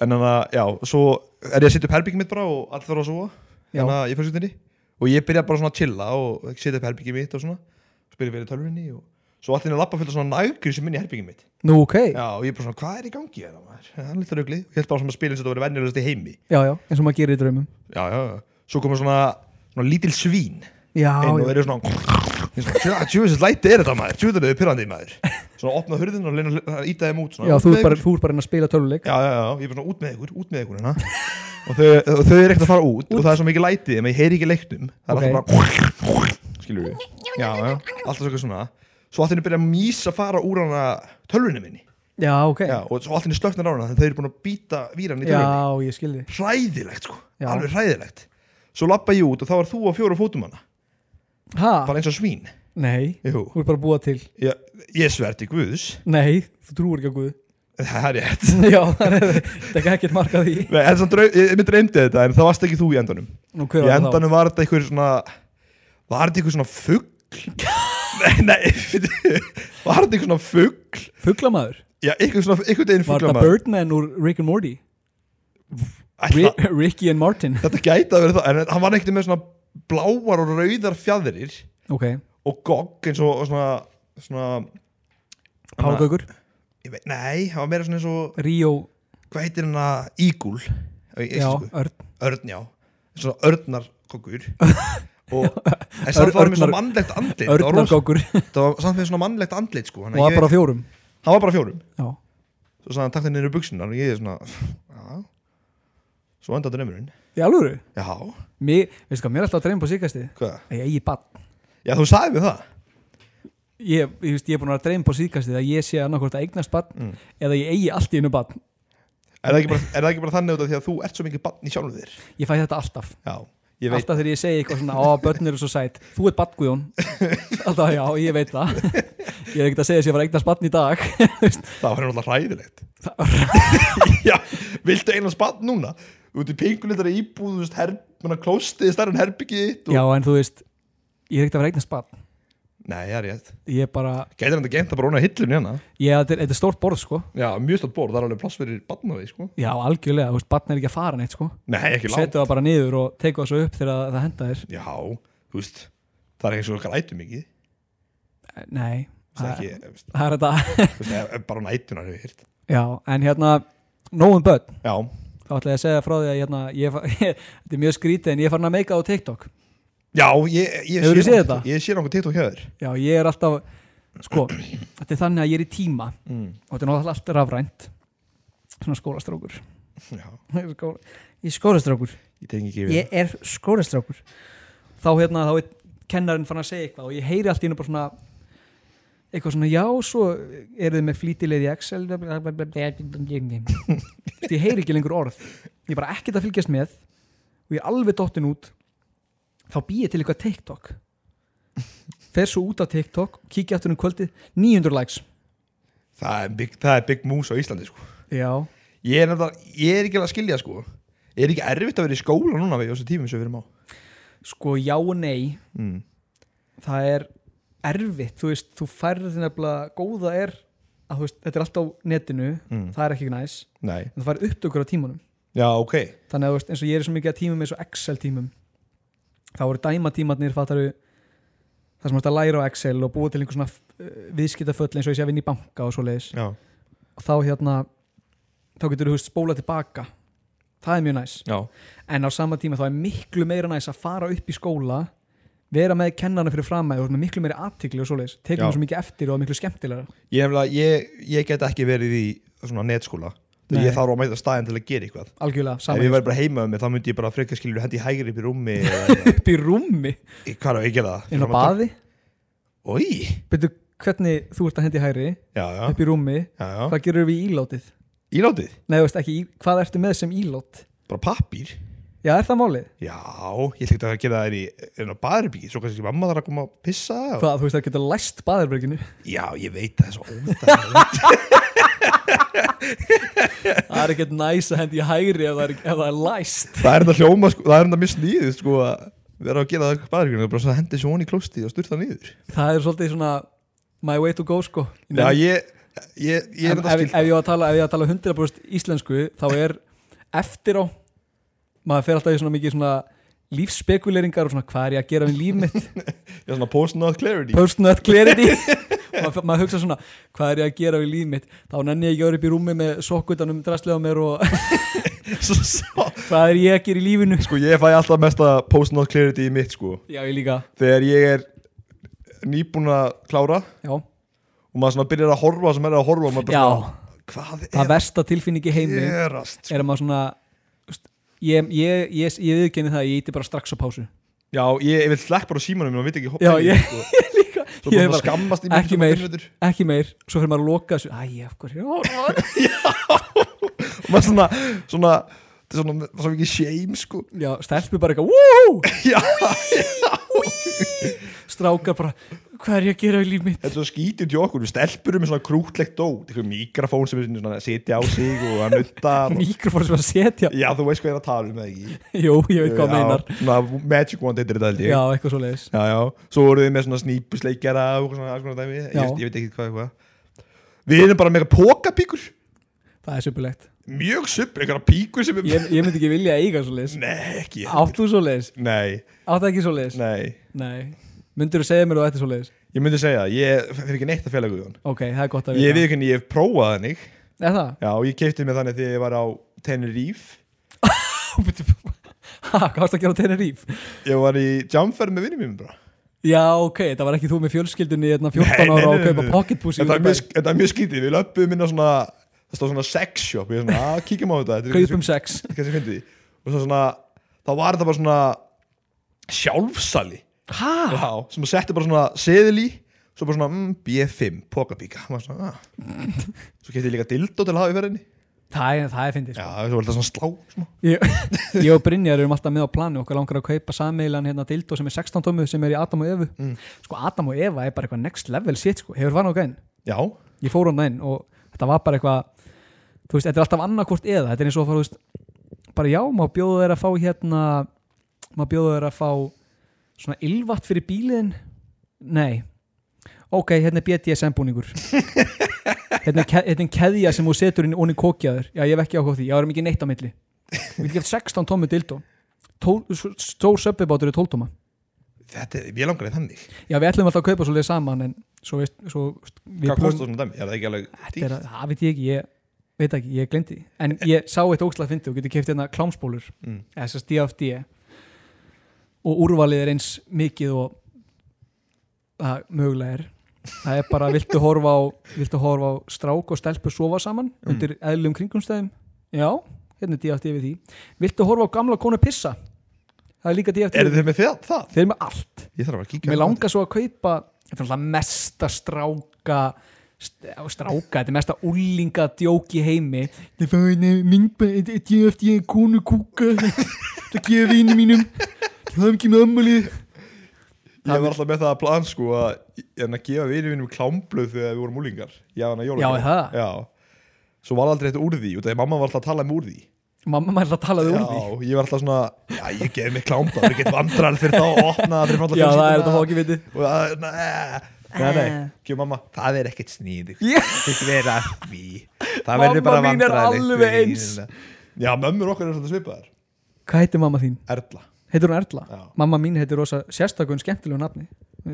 Speaker 2: en þannig að, já, svo er ég að setja upp herbyggið mitt bara og allir þarf að súa
Speaker 1: Já.
Speaker 2: þannig að ég fyrir stundir og ég byrja bara svona að chilla og setja upp herbyggið mitt og svona spila fyrir tölvunni og svo allir að lappa fyrir svona nægur sem minni herbyggið mitt
Speaker 1: Nú, ok, já,
Speaker 2: já, og ég bara svona, hvað er í gangi hérna maður það er lítið rugli, ég held bara svona að spila eins og þetta verið venjulegast í heimi
Speaker 1: já, eins og maður gerir í draumum
Speaker 2: já, já, já, svo koma svona, svona lítil svín
Speaker 1: Já,
Speaker 2: inn og
Speaker 1: já,
Speaker 2: þeir eru svona Ég er svona, "Tjö- tjöfisins læti er þetta maður, tjöfisins er pyrrandi maður svona opna hurðin og leina að íta þeim út svona,
Speaker 1: já
Speaker 2: "Út
Speaker 1: þú
Speaker 2: með
Speaker 1: er bara,
Speaker 2: ykkur."
Speaker 1: þú er bara að reyna að spila töluleik
Speaker 2: já, já, já, ég er bara svona út með ykkur, út með ykkur hérna og þau, og þau er ekkert að fara út, og það er svo mikið lætið þeim að ég heyri ekki í leiknum það er
Speaker 1: Ok.
Speaker 2: alltaf bara skilur við, já, já, alltaf svo svona svo allt henni byrja að mísa að fara úr hana tölvunni minni,
Speaker 1: Já, ok,
Speaker 2: já,
Speaker 1: já,
Speaker 2: og svo allt henni slöknar á hana þegar þau eru búin að býta víran í tölvunni
Speaker 1: ég skilði
Speaker 2: hræðilegt sko,
Speaker 1: Já.
Speaker 2: alveg hræðilegt svo lappa ég út og þá var þú á fjóru fótum hana
Speaker 1: Ha,
Speaker 2: bara eins og svín,
Speaker 1: nei,
Speaker 2: jú
Speaker 1: þú er bara að búa til
Speaker 2: ég, ég sverti guðs
Speaker 1: Nei, þú trúir ekki á Guð
Speaker 2: það er rétt
Speaker 1: Já, það er það er ekkert markað í
Speaker 2: Nei, en samt draum- ég, ég dreymdi þetta en það varst ekki þú í endanum
Speaker 1: Nú,
Speaker 2: í
Speaker 1: hver var það þá?
Speaker 2: endanum var þetta einhver svona var þetta einhver svona fugg nei, nei fyrir- var þetta einhver svona fugg
Speaker 1: Fuglamaður?
Speaker 2: já, einhver svona, einhver deginn
Speaker 1: Var það
Speaker 2: fugglamað
Speaker 1: Birdman úr Rick and Morty?
Speaker 2: Ætla-
Speaker 1: Ri- Ricky and Martin
Speaker 2: þetta gæti að vera það, en hann var ekkert með svona bláar og rauðar fjadrir
Speaker 1: Ok,
Speaker 2: og gogg eins og, og svona svona
Speaker 1: Pálgaukur,
Speaker 2: Ég veit- nei, hann var meira svona eins og
Speaker 1: Ríó,
Speaker 2: hvað heitir hann að ígul
Speaker 1: já, Örn
Speaker 2: örn, já svona örnarkokkur og en samt var hann með
Speaker 1: Örnar-
Speaker 2: svona mannlegt andlit það var rosa-
Speaker 1: Örnargókur og
Speaker 2: það var samt með svona mannlegt andlit sko þannig að
Speaker 1: var
Speaker 2: ég-
Speaker 1: bara á fjórum
Speaker 2: hann var bara fjórum
Speaker 1: Já,
Speaker 2: svo sagði hann takk þér niður í buksunar og ég er svona já svo endaði nefnurinn
Speaker 1: í alvöru
Speaker 2: já
Speaker 1: Mér, veistu hvað, mér er alltaf að dreyma på síkastið
Speaker 2: hvað
Speaker 1: að ég eigi bann
Speaker 2: já þú sagði mér það
Speaker 1: ég, ég, veist, ég er búin að vera að dreyma på síðkastið að ég sé annarkvort að eignast bann
Speaker 2: Mm.
Speaker 1: eða ég eigi allt í einu bann
Speaker 2: er það ekki bara, er það ekki bara þannig út af því að þú ert svo mikið bann í sjálfum þér
Speaker 1: ég fæ þetta alltaf
Speaker 2: já ég veit
Speaker 1: alltaf þegar ég segi eitthvað svona á börn eru svo sætt þú ert bann Guðjón alltaf já ég veit það ég er ekkert að segja þess að ég var að eignast bann í dag
Speaker 2: það var náttúrulega hræðilegt já viltu einan bann núna út í pingulitari íbúð þú veist herb menna klóstið stærn herbyggið þitt og...
Speaker 1: já en þú veist ég er ekkert að vera að eignast bann
Speaker 2: nei það er rétt
Speaker 1: ég er bara
Speaker 2: gætir hann að genta bara óna hillun hérna
Speaker 1: ég, þetta, er, þetta er stórt borð sko
Speaker 2: já mjög stórt borð það er alveg pláss fyrir bann á því sko
Speaker 1: já algjörlega þú veist bann er ekki að fara neitt sko
Speaker 2: nei ekki langt
Speaker 1: setu það bara niður og teiku það svo upp þegar það henda þér
Speaker 2: Já, þú veist Það er ekki svo grætu mikið
Speaker 1: nei
Speaker 2: Það er
Speaker 1: það
Speaker 2: ekki, þú veist,
Speaker 1: það er þetta
Speaker 2: þú veist, ef- ef bara nætunar hefur hýrt
Speaker 1: já en hérna nógum börn
Speaker 2: Já,
Speaker 1: þá ætla ég að segja frá því að hérna, ég, fa- þetta er mjög skrítið en ég er farin að meika á TikTok
Speaker 2: já, ég, ég
Speaker 1: Hefurðu séð þetta?
Speaker 2: Ég sé nokkuð TikTok hjá þér
Speaker 1: já, ég er alltaf sko, þetta er þannig að ég er í tíma
Speaker 2: mm.
Speaker 1: og þetta er náttúrulega allt rafrænt svona skólastrákur
Speaker 2: Já,
Speaker 1: ég er skólastrákur
Speaker 2: ég tengi ekki við
Speaker 1: ég er skólastrákur þá hérna, þá er kennarinn farin að segja eitthvað og ég heyri allt í hennu bara svona eitthvað svona, já, svo eru þið með flítilegð í Excel ég heyri ekki lengur orð ég er bara ekkert að fylgjast með og ég er alveg dottin út þá býð ég til eitthvað TikTok fer svo út á TikTok kíkja aftur um kvöldið, 900 likes
Speaker 2: það, er big, það er big moves á Íslandi sko.
Speaker 1: já,
Speaker 2: ég, er nefnilega, ég er ekki alveg að skilja sko. Er ekki erfitt að vera í skóla núna Við þessu tímum sem við erum á
Speaker 1: sko já og nei
Speaker 2: mm.
Speaker 1: það er erfitt, þú veist, þú færð nefnilega, góða er að þú veist, þetta er allt á netinu
Speaker 2: Mm.
Speaker 1: það er ekki næs,
Speaker 2: Nei,
Speaker 1: en þú færð upptökur á tímunum
Speaker 2: já, ok
Speaker 1: þannig að þú veist, eins og ég er svo mikið að tímum eins og Excel tímum þá eru dæma tímarnir fattaru það sem þú ert að læra á Excel og búa til einhver svona uh, viðskiptaföll eins og ég sé að vinna í banka og svo leiðis
Speaker 2: Já,
Speaker 1: og þá hérna þá getur þú veist spóla tilbaka það er mjög næs,
Speaker 2: já,
Speaker 1: en á sama tíma þá er miklu meira næs að fara upp í skóla vera með kennana fyrir framæði og þú ert með miklu meiri aðtikli og svo leiðis,
Speaker 2: Já.
Speaker 1: tekum þú svo mikið eftir og það er miklu skemmtilega
Speaker 2: ég, er nefnilega- ég, ég get ekki verið í svona netskóla
Speaker 1: Nei.
Speaker 2: Þegar ég þarf að mæta staðin til að gera eitthvað
Speaker 1: algjörlega,
Speaker 2: Ef ég
Speaker 1: saman
Speaker 2: verð bara heima um mig, þá myndi ég bara frekar skilur hendi í hægri upp í rúmi eða-
Speaker 1: upp í rúmi
Speaker 2: Í- Hvað er að ég gera það?
Speaker 1: inn á baði,
Speaker 2: Í,
Speaker 1: betur hvernig þú ert að hendi hæri,
Speaker 2: já, já,
Speaker 1: upp í rúmi
Speaker 2: já, já.
Speaker 1: hvað gerur við í ílátið?
Speaker 2: Ílátið,
Speaker 1: Nei, þú veist ekki, í- hvað ertu með sem ílót?
Speaker 2: bara pappír
Speaker 1: Já, er það málið?
Speaker 2: Já, ég ætla ekki að gera það í enn á baðurbyggi, svo kannski mamma þarf að koma að pissa og...
Speaker 1: Hvað, þú veist, það getur læst baðarbyrginu
Speaker 2: Já, ég veit það er svo óþægilegt
Speaker 1: Það er ekkert næs að hendi í hægri ef það er, ef það er læst
Speaker 2: Það er þetta hljóma, sko, það er þetta missnýðið sko, að vera að gera það í baðurbyggi og bara svo hendi svo honi í klóstið og styrta niður
Speaker 1: Það er svolítið svona my way to go, sko
Speaker 2: Já, ég, ég, ég
Speaker 1: En
Speaker 2: er þetta
Speaker 1: ef,
Speaker 2: skil
Speaker 1: ef ég var að tala, ef ég var að tala 100% íslensku þá er eftir á maður fer alltaf í svona mikið svona lífsspekuleringar og svona hvað er ég að gera við líf mitt
Speaker 2: Ég er svona post-not clarity
Speaker 1: post-nut clarity maður, maður hugsa svona, hvað er ég að gera við líf mitt þá nenni ég ekki að vera upp í rúmi með sokkutanum drastlega á mér og
Speaker 2: Svo- svo-
Speaker 1: hvað er ég að gera í lífinu
Speaker 2: Sko ég fæ alltaf mesta post-not clarity í mitt sko
Speaker 1: já, ég líka,
Speaker 2: Þegar ég er nýbúin að klára
Speaker 1: já,
Speaker 2: Og maður svona byrjar að horfa sem er að horfa og maður bara
Speaker 1: já
Speaker 2: svona, Hvað er
Speaker 1: það versta tilfinningi heimi
Speaker 2: að gerast sko?
Speaker 1: er að maður svona þú veist, ég, ég, ég, ég viðkenni það, að ég íti bara strax á pásu
Speaker 2: Já, ég, ég vil slekk bara símanum og veit ekki
Speaker 1: Já,
Speaker 2: pæli í,
Speaker 1: ég-
Speaker 2: sko.
Speaker 1: líka,
Speaker 2: Svo bara
Speaker 1: ég er
Speaker 2: svona
Speaker 1: bara,
Speaker 2: skammast í
Speaker 1: ekki
Speaker 2: mínútur og
Speaker 1: meir.
Speaker 2: mínútur.
Speaker 1: ekki meir svo fyrir maður að loka þessu, æ, af hverju ó, ó, ó.
Speaker 2: Og maður svona, svona þetta er Svona, svona ekki shame sko
Speaker 1: já, stelpur bara eitthvað, wúhú
Speaker 2: Já,
Speaker 1: strákar bara, hvað er ég að gera við líf mitt
Speaker 2: þetta er svo skítið til okkur Við stelpurum með svona krútlegt dót Eitthvað mikrofón sem er svona sitja á sig og að nutta
Speaker 1: mikrofór sem að setja,
Speaker 2: Já, þú veist hvað ég er að tala um það ekki
Speaker 1: jú, ég veit hvað
Speaker 2: Já,
Speaker 1: meinar
Speaker 2: svona Magic Wand heitir þetta held ég
Speaker 1: já, eitthvað svo leiðis
Speaker 2: já, já. Svo voruð þið með svona snípusleikjara og svona alls konar dæmi ég,
Speaker 1: Já.
Speaker 2: veist- ég veit ekki hvað eitthvað Við erum bara með eitthvað pókapíkur
Speaker 1: það er söpulegt,
Speaker 2: Mjög supp, eitthvað píkur sem er
Speaker 1: ég, ég myndi ekki vilja eiga svo leiðis
Speaker 2: Nei, ekki
Speaker 1: áttu svo leiðis,
Speaker 2: Nei,
Speaker 1: áttu ekki svo leiðis
Speaker 2: nei
Speaker 1: nei, myndur þú segja mér og þetta svo leiðis
Speaker 2: Ég myndi segja, það, ég fyrir ekki neitt að fela guðjón
Speaker 1: ok, það er gott að
Speaker 2: Ég
Speaker 1: vita
Speaker 2: við ekki, ég hef prófað þannig
Speaker 1: er það?
Speaker 2: Já, ég keipti mig þannig þegar ég var á Tenerife
Speaker 1: ha, hvað varst að gera á Teneríf?
Speaker 2: Ég var í jamferð með vinnum mínum bara
Speaker 1: já, ok, það var ekki þú með fjölskyldunni hérna 14
Speaker 2: Nei, nei,
Speaker 1: ára
Speaker 2: nei,
Speaker 1: og
Speaker 2: nei,
Speaker 1: kaupa
Speaker 2: nei.
Speaker 1: pocketbúsi
Speaker 2: Þetta er mjög- þetta er mjög skítið, við löpum inn á svona Það stóð svona sex shop, ég er svona, að kíkjum á þetta þetta er kannski-
Speaker 1: kaupum sex
Speaker 2: Þetta er kannski fyndið því. og svo svona, þá var þetta bara svona sjálfsali
Speaker 1: ha?
Speaker 2: já, sem að setja bara svona seðil í svo bara svona mm, B5, pokapíka maður svona, ah. svo kefti ég líka dildó til að hafa í ferðinni já,
Speaker 1: það er, það er fyndið sko.
Speaker 2: svo var þetta svona slá svona.
Speaker 1: ég, ég og Brynjar erum alltaf með á planu okkar langar að kaupa sameiglan hérna dildó sem er 16 tómmu sem er í Adam og Evu sko Adam og Eva er bara eitthvað next level shit sko. hefur fann á gæn,
Speaker 2: já,
Speaker 1: ég fór hann inn og þetta var bara eitthvað þú veist, þetta er alltaf annarkvort eða þetta er eins og að fara, þú veist, bara já, má bjóða þeir að fá hérna má bjóða þeir að fá svona ylvatt fyrir bílinn nei, ok, hérna er BDSM búningur hérna, er ke- hérna er keðja sem þú setur inn onni kókjaður, já ég hef ekki áhuga á því, já erum ekki neitt á milli við getum 16 tómmu dildó Tól- s- stór söpbibátur er 12 tóma
Speaker 2: þetta er, ég langar í þannig
Speaker 1: já við ætlum alltaf að kaupa svolítið saman en svo veist, svo veist, við
Speaker 2: hvað kostar svona dæmi, er það ekki alveg
Speaker 1: Þetta er
Speaker 2: dýrt?
Speaker 1: að, það veit ég ekki, ég veit ekki, ég glemdi En ég sá eitt ógslag fyndi og getur keft hérna klámsbólur
Speaker 2: Mm.
Speaker 1: eða þess að DFD og úrvalið er eins mikið og það mögulega er Það er bara, viltu horfa á viltu horfa á strák og stelpu sofa saman
Speaker 2: Mm.
Speaker 1: undir eðlum kringumstæðum Já, hérna er DFD við því Viltu horfa á gamla konu pissa Það er líka DFD
Speaker 2: eru þið með það, það?
Speaker 1: Þeir eru með allt
Speaker 2: ég þarf að bara kíkja hérna.
Speaker 1: Mér
Speaker 2: á þetta.
Speaker 1: langar svo að kaupa Þetta er alltaf mesta stráka st- á stráka, þetta er mesta úlinga djók í heimi Það er fáin myndbæð, eh, ég eftir ég konu kúka Það gefa vinnu mínum Það er ekki með ammali
Speaker 2: ég var alltaf með það að plan sko að, en að gefa vinið mínum klámbluð þegar við vorum úlingar já, þannig að
Speaker 1: Já, er það?
Speaker 2: já, svo var aldrei þetta úr því út af því að mamma var alltaf að tala um úr því
Speaker 1: Mamma maður alltaf talaði úr því
Speaker 2: Já, ég var alltaf svona Já, ég gef mig klámbað, ég get vandral fyrir þá að opna það fyrir framlega
Speaker 1: Já, það er þetta fá ekki viti
Speaker 2: Og það, nei, nei, nei, gjöf mamma Það er ekkert sníð
Speaker 1: yeah.
Speaker 2: Þetta vera því Það
Speaker 1: Mamma
Speaker 2: verður bara
Speaker 1: mín er
Speaker 2: vandræðilegt
Speaker 1: alveg
Speaker 2: fyrir
Speaker 1: eins.
Speaker 2: hínina. Já, mömmur okkar er svolítið svipaðar
Speaker 1: Hvað heitir mamma þín?
Speaker 2: Erla
Speaker 1: Heitir hún Erla?
Speaker 2: Já.
Speaker 1: Mamma mín heitir rosa sérstakun skemmtilegu nafni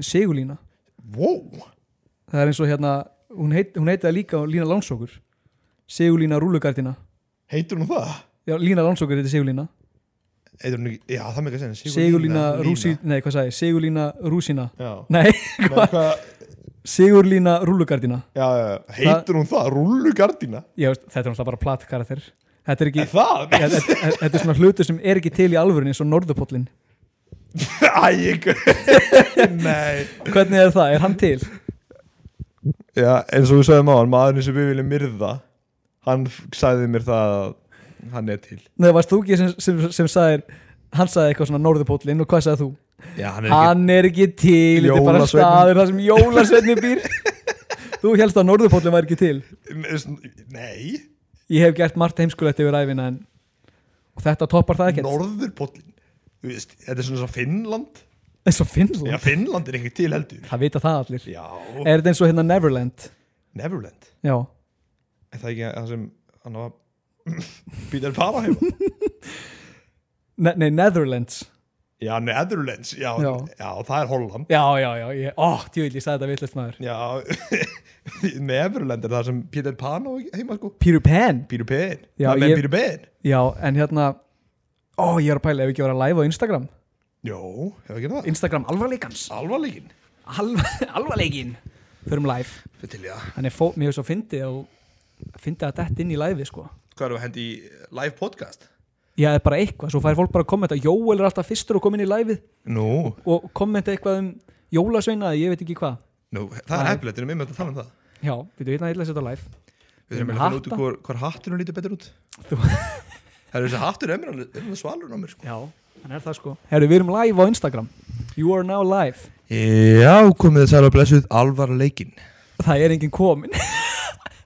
Speaker 1: Sigurlína
Speaker 2: Wow,
Speaker 1: Það er eins og hérna, hún, heit, hún heitir það líka Lína Lánsókur Sigurlína Rúlugardina
Speaker 2: heitur hún það?
Speaker 1: Já, Lína Lánsókur heitir Sigurlína
Speaker 2: Heitur hún ekki, já, það með ekki að segja
Speaker 1: Sigurlína
Speaker 2: Lína.
Speaker 1: Rúsi, nei hvað sagði, ég? Sigurlína Rúsina
Speaker 2: Já,
Speaker 1: nei,
Speaker 2: Nei,
Speaker 1: hvað,
Speaker 2: hvað-
Speaker 1: Sigurlína Rúlugardina
Speaker 2: já, já, já. heitur hún það? Rúllugardina
Speaker 1: ég veist, þetta er náttúrulega bara platkarakter þetta er ekki,
Speaker 2: Er það?
Speaker 1: þetta þetta- þetta er svona hlutur sem er ekki til í alvörunni, eins og norðupóllin
Speaker 2: Æ, ég Nei
Speaker 1: hvernig er það, er hann til?
Speaker 2: Já, eins og við sögum á hann, maðurinn sem við viljum myrða hann f- sagði mér það að hann er til
Speaker 1: Nei, varst þú ekki sem, sem, sem sagðir hann sagði eitthvað svona norðupóllin og hvað sagði þú?
Speaker 2: Já, hann
Speaker 1: Hann er ekki til, þetta er bara
Speaker 2: Jólasveinninn.
Speaker 1: staður það sem jólasveinni býr þú helst að norðupóllin var ekki til
Speaker 2: ekki Nei,
Speaker 1: ég hef gert margt heimskulegt yfir æfina en og þetta toppar það ekkert,
Speaker 2: norðurpóllin Þú veist, þetta er svona svo Finnland
Speaker 1: eins og Finnland
Speaker 2: Já, Finnland er ekki til heldur
Speaker 1: það vita það allir
Speaker 2: Já,
Speaker 1: Er þetta eins og hérna Neverland?
Speaker 2: Neverland
Speaker 1: Já,
Speaker 2: Er það ekki það sem hann var Peter Pan á heima
Speaker 1: ne Nei, Netherlands
Speaker 2: Já, Netherlands, já, já.
Speaker 1: Já.
Speaker 2: það er Holland
Speaker 1: Já, já, já, ég, ó, djúvill, ég sagði þetta villast maður
Speaker 2: Já, Neverland er það sem Peter Pan á heima sko
Speaker 1: Peter Pan
Speaker 2: Peter Pan,
Speaker 1: Já,
Speaker 2: það er
Speaker 1: ég-
Speaker 2: Peter Pan
Speaker 1: Já, en hérna Ó, ég er að pæla ef við ekki að vera live á Instagram
Speaker 2: Jó, hefur ekki það
Speaker 1: Instagram alvarleikans
Speaker 2: Alvarlegin
Speaker 1: Alv Alvarleikin Förum live
Speaker 2: Fyrir til ég að
Speaker 1: Þannig fó, mér er svo fyndið að fyndið að detta inn í live sko
Speaker 2: Hvað erum við að hendi í live podcast?
Speaker 1: Já, eða bara eitthvað, svo fær fólk bara að kommenta Jóel er alltaf fyrstur að koma inn í liveið
Speaker 2: Nú,
Speaker 1: og kommenta eitthvað um jólasveinaði, ég veit ekki hvað
Speaker 2: nú, það er
Speaker 1: Nei.
Speaker 2: eflilegt, erum við með að tala um það
Speaker 1: Já, við veitum að ég lesa þetta live
Speaker 2: Við þurfum
Speaker 1: Með
Speaker 2: að finna út
Speaker 1: hatta?
Speaker 2: hvor, hvor hatturinn lítur betur út
Speaker 1: Þú-
Speaker 2: Það er þessi hattur er mér alveg- er alveg svalur á mér sko
Speaker 1: Já, þannig er það sko Herru, við erum live á Instagram You are now live
Speaker 2: Já, komið þið sæla blessuð alvarleikin
Speaker 1: Það er enginn komin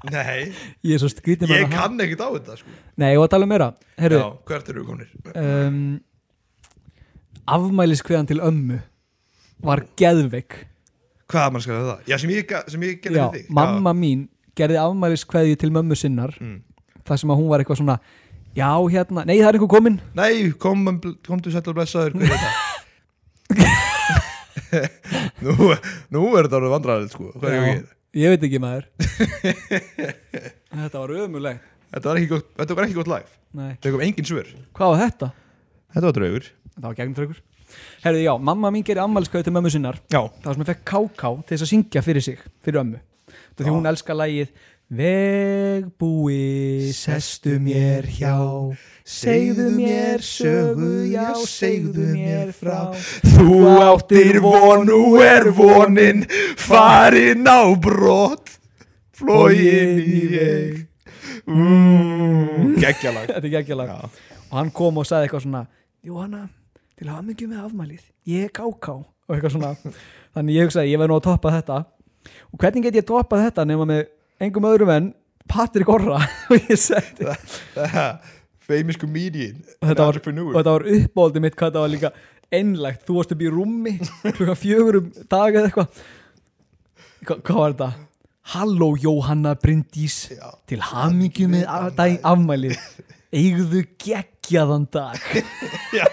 Speaker 2: Nei,
Speaker 1: Ég er svo skrítið með
Speaker 2: ég kann ekkert á þetta sko
Speaker 1: Nei, og að tala um meira Herru,
Speaker 2: Já, hvert eru við kominir?
Speaker 1: um, afmæliskveðan til ömmu var geðveik
Speaker 2: Hvað mann skal það? Já, sem ég, ga- sem ég gerði
Speaker 1: Já,
Speaker 2: við þig
Speaker 1: mamma mín gerði afmæliskveði til mömmu sinnar
Speaker 2: Mm.
Speaker 1: þar sem að hún var eitthvað svona Já, hérna, nei það er einhver komin
Speaker 2: Já. Nei, kom, komdu sæla blessaður, hvað er þetta? nú, nú er þetta alveg vandræðið sko Hvað er
Speaker 1: Já,
Speaker 2: ég?
Speaker 1: Ég veit ekki maður Þetta var ömulegt
Speaker 2: Þetta var ekki gott, þetta var ekki gott live
Speaker 1: Nei,
Speaker 2: Það kom engin svör
Speaker 1: hvað var þetta?
Speaker 2: Þetta var draugur
Speaker 1: Þetta var gegnumtryggur Herðu, já, mamma mín gerði ammælskauð til mömmu sinnar
Speaker 2: Já,
Speaker 1: Það sem ég fekk káká til þess að syngja fyrir sig Fyrir ömmu Þetta
Speaker 2: Já.
Speaker 1: því hún elskar lagið Vegbúi, sestu mér hjá Segðu mér sögu, já, segðu mér frá
Speaker 2: Þú áttir von, nú er vonin farin á brott flógin í veg mm. Gekkjalag
Speaker 1: Þetta er geggjalag
Speaker 2: Já.
Speaker 1: Og hann kom og sagði eitthvað svona Jóhanna, til að hafa mikið með afmælið Ég er káká Og eitthvað svona Þannig ég hugsaði, ég verð nú að toppa þetta Og hvernig get ég toppað þetta nema með engum öðrum en Patrik Orra Og ég setti
Speaker 2: Famous comedian
Speaker 1: þetta var, og
Speaker 2: entrepreneur
Speaker 1: þetta var uppbóldi mitt hvað þetta var líka einlægt þú varst upp í rúmi klukkan fjögur um dag eða eitthvað Hva, hvað var þetta? Halló Jóhanna Bryndís
Speaker 2: Já.
Speaker 1: til hamingju með af- dag afmælið eigðu geggjaðan dag
Speaker 2: Já.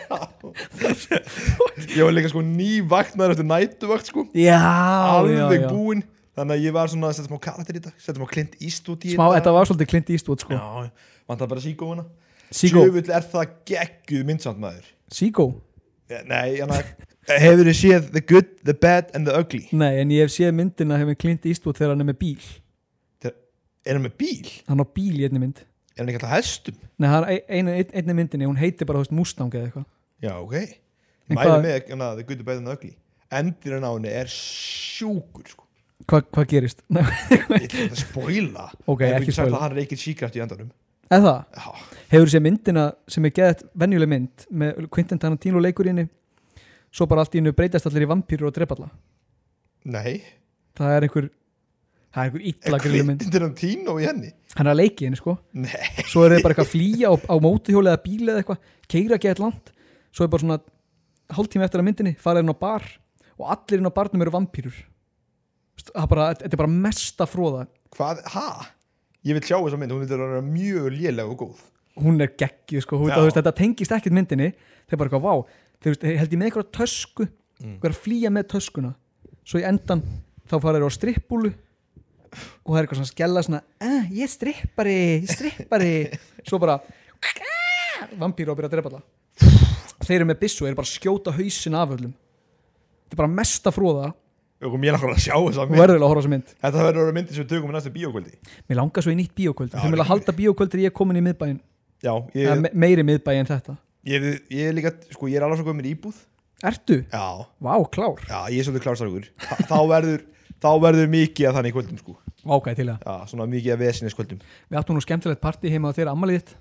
Speaker 2: Ég var líka sko nývaknaður eftir nætuvakt sko
Speaker 1: já, já,
Speaker 2: Alveg
Speaker 1: já.
Speaker 2: búinn Þannig að ég var svona að setja smá karakter í dag Setja smá klint ístúd í
Speaker 1: smá, þetta var svolítið Clint Eastwood sko
Speaker 2: Já, vantar bara síkóuna
Speaker 1: Sígó,
Speaker 2: Sjöfull er það gegguð myndsamt maður
Speaker 1: Sígó
Speaker 2: Ja, Nei, hann að Hefur þið séð the good, the bad and the ugly
Speaker 1: nei, en ég hef séð myndina hefur Clint Eastwood þegar hann er með bíl
Speaker 2: Þeir, Er hann með bíl?
Speaker 1: hann á bíl í einni mynd
Speaker 2: Er hann ekki alltaf hestum?
Speaker 1: nei, hann, ein, ein, einni myndinni, hún heitir bara þú veist, Mustang eða eitthvað
Speaker 2: Já, ok
Speaker 1: En
Speaker 2: Mæli
Speaker 1: hvað-
Speaker 2: með hana, the good, the bad and the ugly Endirinn á henni er sjúkur sko.
Speaker 1: Hva- hvað gerist? Nei,
Speaker 2: Ég ætla ekki að spoila
Speaker 1: Ok,
Speaker 2: En ég
Speaker 1: ekki
Speaker 2: get sagt
Speaker 1: spoila.
Speaker 2: að Hann reykir síkrætt í endanum
Speaker 1: eða það?
Speaker 2: Já,
Speaker 1: hefur séð myndina sem er geðið venjuleg mynd með Quentin Tarantino leikur í henni svo bara allt í hennu breytast allir í vampýrur og drepa alla
Speaker 2: nei
Speaker 1: það er einhver það er einhver illa grillu mynd
Speaker 2: Kvittindir hann tínu í henni
Speaker 1: hann er að leiki henni sko
Speaker 2: Nei,
Speaker 1: svo er þeir bara eitthvað að flýja á, á mótuhjóli eða bíli eða eitthvað keira geðið land svo er bara svona hálftíma eftir að myndinni fara inn á bar og allir inn á barnum eru vampýrur það er bara, þetta er bara mesta fróða
Speaker 2: hvað, ha? Ég vil sjá þessa mynd, hún myndir að vera mjög lélega og góð
Speaker 1: hún er geggið sko, hún,
Speaker 2: Já.
Speaker 1: þú veist, þetta tengist ekkert myndinni þeir bara eitthvað, vá, þeir veist, held ég með eitthvað tösku, mm. að flýja með töskuna svo í endan þá fara þeir á strippbúlu og það er eitthvað svona skella svona, eh, ég er strippari ég er strippari, svo bara vampýra og byrja að drepa alla þeir eru með byssu, þeir eru bara að skjóta hausin af öllum þetta er bara mesta fróða,
Speaker 2: Og mér langar að sjá þessa
Speaker 1: þú
Speaker 2: mynd
Speaker 1: verður að horfa á þessa mynd
Speaker 2: Þetta verður að vera myndir sem við tökum í næsta bíókvöldi
Speaker 1: mér langar svo í nýtt bíókvöld,
Speaker 2: Já,
Speaker 1: þeir vilja
Speaker 2: líka.
Speaker 1: halda bíókvöldir ég er komin í miðbæin,
Speaker 2: Já, ég,
Speaker 1: eða me- meiri miðbæin en þetta
Speaker 2: ég, ég er líka, sko, ég er alveg svo komið mér íbúð
Speaker 1: Ertu?
Speaker 2: Já,
Speaker 1: Vá, klár
Speaker 2: já, ég er svolítið klárstrákur Þa, Þá verður, þá verður mikið að þannig í kvöldum, sko
Speaker 1: Ágæði til það.
Speaker 2: Já, svona mikið að vesinnes kvöldum
Speaker 1: Við áttum nú skemmtilegt partí heima á þér ammaliðið.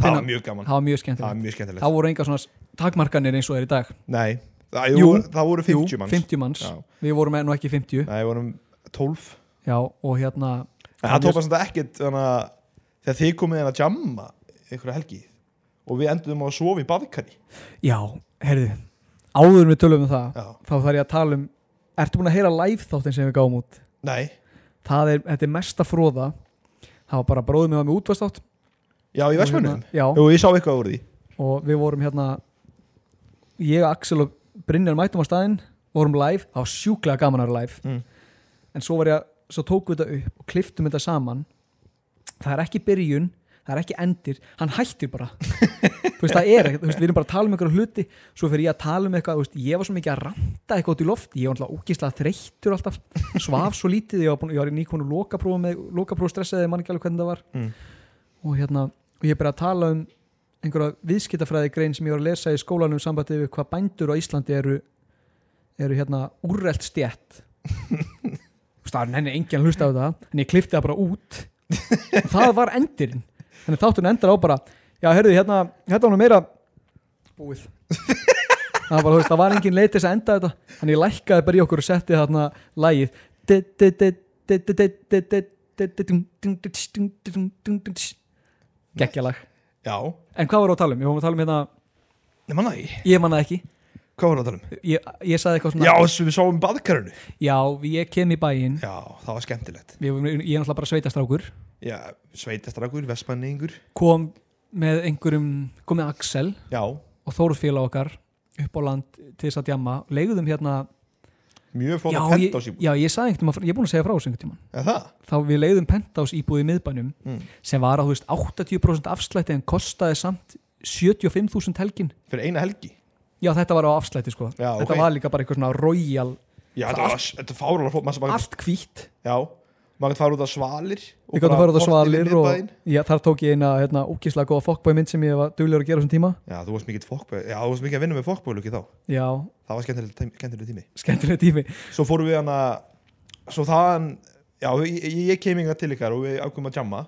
Speaker 2: Það var mjög gaman,
Speaker 1: Það var mjög
Speaker 2: það var
Speaker 1: skemmtilegt.
Speaker 2: mjög skemmtilegt
Speaker 1: Það voru enga svona takmarkanir eins og er í dag.
Speaker 2: Nei, það, jú, það voru 50
Speaker 1: jú,
Speaker 2: manns
Speaker 1: 50 manns.
Speaker 2: Já.
Speaker 1: Við vorum nú ekki 50.
Speaker 2: Nei, vorum 12
Speaker 1: Já, og hérna...
Speaker 2: En það tópa svona ekkert, þannig að Þegar þið komið hérna að jamma einhverja helgi Og við endum á að sofa í baðkari
Speaker 1: Já, herðu. Áður en við tölum um það,
Speaker 2: Já,
Speaker 1: þá þarf ég að tala um... Ertu búin að heyra live þáttin sem við gáum út?
Speaker 2: nei,
Speaker 1: Það er, þetta er mesta fróða. Það var bara bróðum með að með útvastátt
Speaker 2: Já, í Vestmannum
Speaker 1: já,
Speaker 2: Jú, ég sá eitthvað úr því
Speaker 1: og við vorum hérna ég, Axel og Brynjar mættum á staðinn vorum live, það var sjúklega gaman að vera live
Speaker 2: Mm.
Speaker 1: en svo var ég að, svo tókum við þetta upp og kliftum þetta saman það er ekki byrjun, það er ekki endir hann hættir bara þú veist, það er ekkert, þú veist, við erum bara að tala um einhverja hluti svo fyrir ég að tala um eitthvað, þú veist, ég var svo mikið að ranta eitthvað út í loft, ég var alltaf ógislega þreyttur alltaf, svaf svo lítið ég var, búin, ég var í nýkonu lokapróf með lokapróf stressaði, ég man ekki alveg hvernig það var
Speaker 2: Mm.
Speaker 1: og hérna, og ég byrja að tala um einhverja viðskiptafræði grein sem ég var að lesa í skólanum sambandi við hvað bændur á Íslandi eru eru hérna úrrelt stjætt Þú veist, það er nenni enginn að hlusta á það en ég klifti það bara út og það var endirinn þannig þátturinn endar á bara já, heyrðu, hérna, hérna var nú meira búið það var bara, þú veist, það var enginn leið til þess að enda þetta þannig ég lækkaði bara í okkur og setti þarna lægið geggjalag
Speaker 2: Já,
Speaker 1: en hvað voru að tala um? Ég voru að tala um hérna,
Speaker 2: nema næ,
Speaker 1: ég manna ekki
Speaker 2: hvað var það að tala um?
Speaker 1: ég, ég saði eitthvað
Speaker 2: Já,
Speaker 1: svona
Speaker 2: sem við sáum baðkarinu
Speaker 1: já, ég kem í bæinn
Speaker 2: Já, það var skemmtilegt
Speaker 1: ég, ég er náttúrulega bara sveitastrákur
Speaker 2: Já, sveitastrakur, vestmanningur
Speaker 1: kom með einhverjum kom með Axel
Speaker 2: Já,
Speaker 1: og Þórfélag okkar upp á land til þess að djamma legðum hérna
Speaker 2: mjög flóta
Speaker 1: já, ég,
Speaker 2: pentás í
Speaker 1: já, ég saði einhvern tímann, ég er búin að segja frá þessu einhvern tímann
Speaker 2: Er það?
Speaker 1: þá við leiðum pentás íbúið í miðbænum
Speaker 2: Mm.
Speaker 1: sem var að þú veist 80% afslætti en kostaði samt 75.000 helgin
Speaker 2: Fyrir eina helgi
Speaker 1: já þetta var á afslætti sko
Speaker 2: Já,
Speaker 1: þetta
Speaker 2: ok.
Speaker 1: var líka bara eitthvað svona royal
Speaker 2: Já, þetta var, þetta fárulega flóta massa bakkar
Speaker 1: allt hvítt
Speaker 2: Já, maður gætt fara út að svalir og
Speaker 1: Ég gæti að
Speaker 2: bara
Speaker 1: fara út á
Speaker 2: horft
Speaker 1: svalir
Speaker 2: yfir
Speaker 1: og
Speaker 2: miðbæinn.
Speaker 1: já, þar tók ég eina hérna, ókíslega góða fokkbæ mynd sem ég var duglur að gera á þessum tíma.
Speaker 2: Já, þú varst mikið fokkbæ Já, þú varst mikið að vinna með fokkbæluki þá
Speaker 1: Já,
Speaker 2: Það var skemmtileg, tæmi- skemmtileg tími
Speaker 1: skemmtilega tími.
Speaker 2: Svo fórum við hann að Svo þaðan Já, ég, ég kem inga til ykkar og við ákveðum að jamma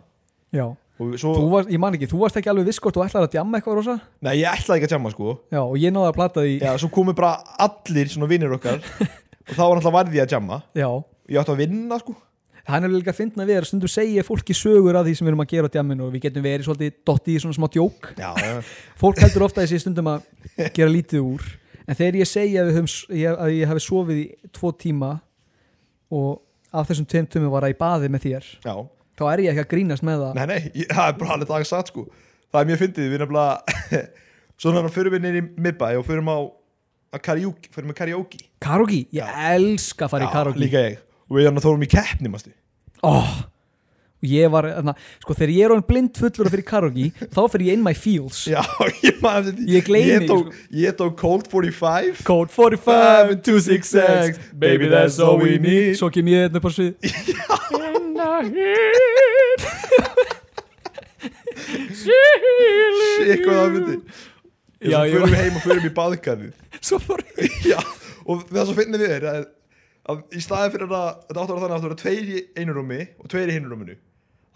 Speaker 1: Já,
Speaker 2: Og svo
Speaker 1: þú varst, ég man ekki, þú varst ekki alveg viss hvort þú ætlar að djamma eitthvað rosa.
Speaker 2: Nei, ég ætlaði ekki að jamma sko
Speaker 1: Já, og ég náði að plata því, já,
Speaker 2: Já, svo komu bara allir svona vinnir okkar Og þá var alltaf varði að jamma Ég átti að vinna sko
Speaker 1: það er nefnilega líka að finna við erum stundum segja fólki sögur að því sem við erum að gera á djamminu og við getum verið svolítið dotti í svona smá djók.
Speaker 2: Já, já,
Speaker 1: Fólk heldur ofta að ég sé stundum að gera lítið úr, en þegar ég segja að, við höfum, s- ég, að ég hafi sofið í tvo tíma og af þessum tveim tömum var að í baði með þér,
Speaker 2: já.
Speaker 1: þá er ég ekki að grínast með það.
Speaker 2: Nei, nei, ég, það er bara alveg dag satt sko Það er mjög fyndið, við nefnilega Svona þannig að fyrir við niður í miðbæ Og fyrir á, á karaoke, fyrir með karaoke
Speaker 1: Karogi, ég elska að fara í
Speaker 2: Já,
Speaker 1: karogi
Speaker 2: Líka ég Og við hann að þórum í keppni, mástu
Speaker 1: oh, og ég var, na, sko þegar ég er orðin blind fullur að fyrir karogi, þá fyrir ég in my feels
Speaker 2: Já, ég maður þetta
Speaker 1: Ég gleymi, sko.
Speaker 2: Ég tók, ég tók Cold 45
Speaker 1: Code 45 266 Baby that's all we need Svo kem ég hérna upp á svið
Speaker 2: Shit, hvað það myndi
Speaker 1: Já,
Speaker 2: Já,
Speaker 1: ég
Speaker 2: ég
Speaker 1: var-
Speaker 2: Förum við heim og förum í baðkarið
Speaker 1: Svo fór ég
Speaker 2: Já, og það sem finnir við er að, að í staðið fyrir að þetta áttur að þannig að það voru tveir í einu rúmi og tveir í hinu rúminu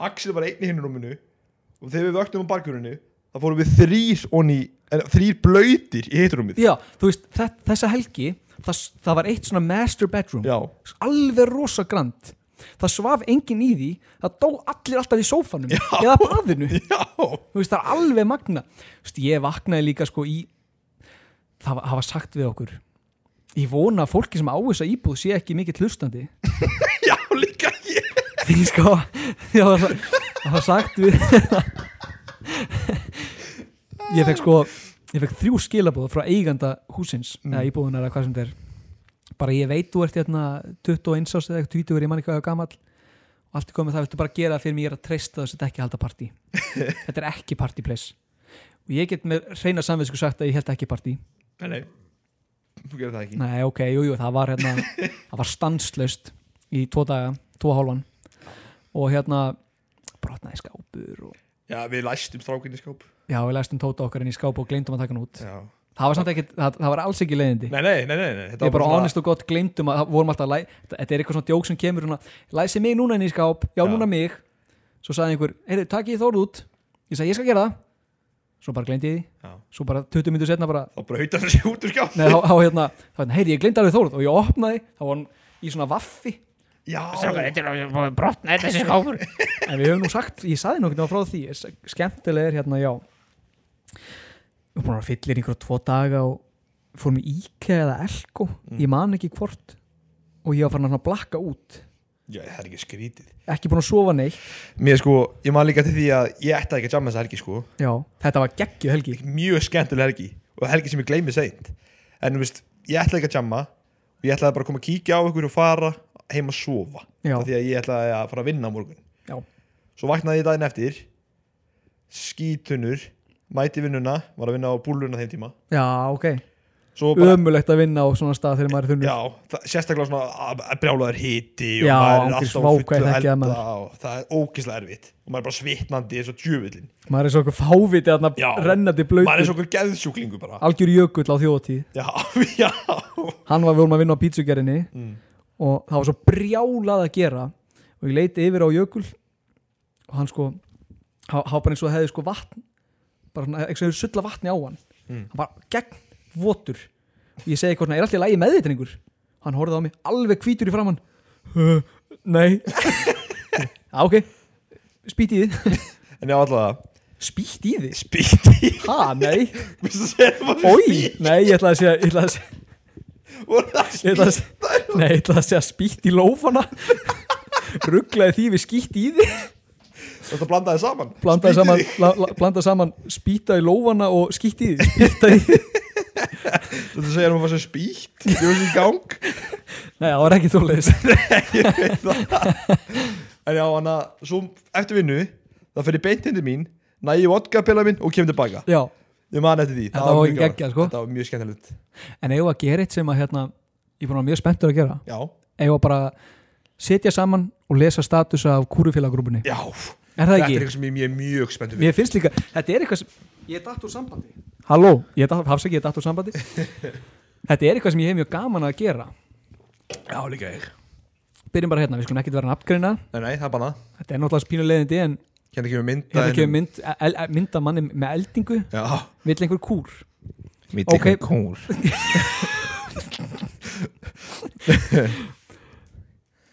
Speaker 2: Axel var einn í hinu rúminu og þegar við vöktum á barkurinu þá fórum við þrýr onni en, þrýr blöytir í hitt rúmið
Speaker 1: Já, þú veist, þe- þessa helgi það, s- það var eitt svona master bedroom
Speaker 2: Já,
Speaker 1: Alveg rosa grand Það svaf enginn í því Það dó allir alltaf í sófanum Eða baðinu
Speaker 2: já,
Speaker 1: þú veist það er alveg magna þú veist ég vaknaði líka sko í það var- hafa sagt við okkur ég vona að fólki sem á þessa íbúð sé ekki mikill hlustandi
Speaker 2: já, líka ég
Speaker 1: því sko það var, það var sagt við ég fekk sko ég fekk þrjú skilabóð frá eiganda húsins eða íbúðunar eða hvað sem þetta er bara ég veit þú ert hérna 21 árs eða 20 er ég mann eitthvað gamall og allt er komið það viltu bara gera það fyrir mig ég er að treysta þess að þetta er ekki að halda partí þetta er ekki partí place og ég get með reyna samvinsku sagt að ég held ekki partí
Speaker 2: Nei, nei, þú gerir það ekki
Speaker 1: Nei, ok, jú, jú, það var hérna það var stanslust í tvo daga, tvo hálfan og hérna brotnaði skápur og
Speaker 2: Já, við læstum strákinni í skáp
Speaker 1: já, við læstum tóta okkar inn í skáp og gleymdum að taka hann út
Speaker 2: Já
Speaker 1: það var samt ekki, það, það var alls ekki leiðindi
Speaker 2: Nei, nei, nei, nei, nei.
Speaker 1: Ég bara honest og gott gleymdum að það vorum alltaf að læ... þetta- Þetta er eitthvað svona djók sem kemur svona, Læsi mig núna inn í skáp, já,
Speaker 2: Já.
Speaker 1: núna mig Svo sagði einhver, heyrðu, takk ég þórð út Ég sagði, ég skal gera það Svo bara gleymdi ég því,
Speaker 2: Já.
Speaker 1: svo bara 20 minnur setna bara
Speaker 2: Þá brauta þessi út úr skáp
Speaker 1: Nei, þá, þá hérna, þá hérna, heyri, ég gleymdi alveg þórð Og ég opnaði, þá var hann í svona vaffi
Speaker 2: Já,
Speaker 3: Strákar, þetta er bara brotnaði þessi skápur
Speaker 1: En við höfum nú sagt, ég saði nokkurnið frá því Skemmtilega er hérna, já Við erum búin að fyllir einhverja tvo daga og
Speaker 2: Mm.
Speaker 1: fórum í IKEA eða Elko Ég man ekki hvort og ég var farin að svona blakka út
Speaker 2: Já, það er ekki skrítið
Speaker 1: ekki búin að sofa neitt
Speaker 2: Mér sko, ég maður líka til því að ég ætti ekki að jamma þessa helgi sko
Speaker 1: já, þetta var geggju helgi
Speaker 2: Mjög skemmtileg helgi og helgi sem ég gleymi seint En þú veist, ég ætlaði ekki að jamma og ég ætlaði bara að koma að kíkja á ykkur og fara heim að sofa
Speaker 1: Já.
Speaker 2: Af Því að ég ætlaði að fara að vinna á morgun
Speaker 1: já,
Speaker 2: Svo vaknaði ég daginn eftir Skítunur Mæti í vinnuna, var að vinna á búluna þeim tíma
Speaker 1: já ok
Speaker 2: Svo bara,
Speaker 1: ömulegt að vinna á svona stað þegar maður er þunnur
Speaker 2: já, það, sérstaklega svona að- að brjálaður hiti og
Speaker 1: Já,
Speaker 2: maður er
Speaker 1: ógeðs-
Speaker 2: alltaf á
Speaker 1: vá, hvað ég
Speaker 2: fullu
Speaker 1: þekki það,
Speaker 2: elda og það er ógislega erfitt og maður er bara svitnandi eins og djöfullin
Speaker 1: maður er svo okkur fáviti að
Speaker 2: Já. maður
Speaker 1: rennandi
Speaker 2: er
Speaker 1: blöytur
Speaker 2: svo okkur geðsjúklingu bara
Speaker 1: algjör jökull á þjóðatíð
Speaker 2: já, já,
Speaker 1: hann var við vorum að vinna á pítsugerinni og það var svo brjálað að gera og ég leiti yfir á jökul og hann sko hann hann var bara eins og hefði sko vatn bara svona, eins og hefur sulla vatni á hann hann var gegn votur og ég segi hvort, er alltaf í lægi með þetta einhver hann horfði á mig, alveg hvítur í framann "Huh, nei já ok, spýt í þið
Speaker 2: en já, allavega
Speaker 1: spýt í þið,
Speaker 2: spýtti
Speaker 1: ha, nei
Speaker 2: minnst að segja það var
Speaker 1: oi, nei, ég ætlaði að segja ég ætlaði að segja
Speaker 2: spýtt
Speaker 1: Ég ætla að, nei, ég ætla að segja spýtt í lófana Rugglaði því við skýtt í því
Speaker 2: þetta blandaði saman Spýtt
Speaker 1: Blandaði
Speaker 2: í
Speaker 1: saman,
Speaker 2: þig.
Speaker 1: la, la, blandaði saman spýta í lófana og skýtt í því Spýta í því
Speaker 2: þetta segja hann var svo spýtt ég var svo í gang
Speaker 1: Nei, það var ekki þóleðis
Speaker 2: ég veit það en já, hann að svo eftir vinnu það fyrir beint hindi mín næ ég vodka pila minn og kemur tilbaka
Speaker 1: Já,
Speaker 2: Ég man eftir því
Speaker 1: Þetta var
Speaker 2: mjög
Speaker 1: ekki
Speaker 2: gaman.
Speaker 1: geggjað, sko.
Speaker 2: Þetta var mjög skemmtilegt
Speaker 1: en eigum við að gera eitt sem að hérna Ég er búin að vera mjög spenntur að gera
Speaker 2: Já
Speaker 1: Eigum við að bara setja saman og lesa statusa af kúrufélaggrúbunni
Speaker 2: Já
Speaker 1: Er það
Speaker 2: Þetta er
Speaker 1: ekki?
Speaker 2: eitthvað sem ég er mjög spenntur fyrir
Speaker 1: Mér finnst líka, þetta er eitthvað sem Ég er datt úr sambandi Halló, ég er datt, hafsæk, ég er datt úr sambandi Þetta er eitthvað sem ég hef mjög gaman að gera
Speaker 2: Já, líka ég
Speaker 1: Byrjum bara hérna, við skulum ekkert vera nafngreina
Speaker 2: Nei, nei, það er bara
Speaker 1: Þetta er náttúrulega spínu leiðindi en
Speaker 2: Hérna kemur mynda
Speaker 1: Hérna kemur mynd, el, el- mynd af manni með eldingu
Speaker 2: Já
Speaker 1: Vill einhver kúr
Speaker 2: Mynd
Speaker 1: Ok.
Speaker 2: kór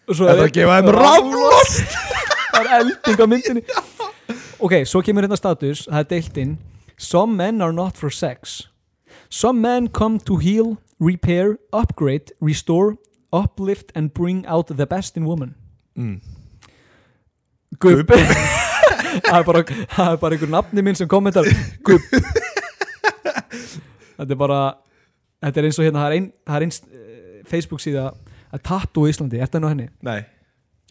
Speaker 1: Og svo
Speaker 2: Þetta er að gefa þeim ráflós
Speaker 1: Það er elding á myndinni Ok, svo kemur hérna status Það er deilt inn Some men are not for sex Some men come to heal, repair, upgrade, restore uplift and bring out the best in woman
Speaker 2: Mm.
Speaker 1: Gubb Það er bara, það er bara einhver nafni minn sem kommentar Gubb Þetta er bara Þetta er eins og hérna, það er ein, það er ein eh, Facebook síða að tattu í Íslandi, eftir henni á henni
Speaker 2: Nei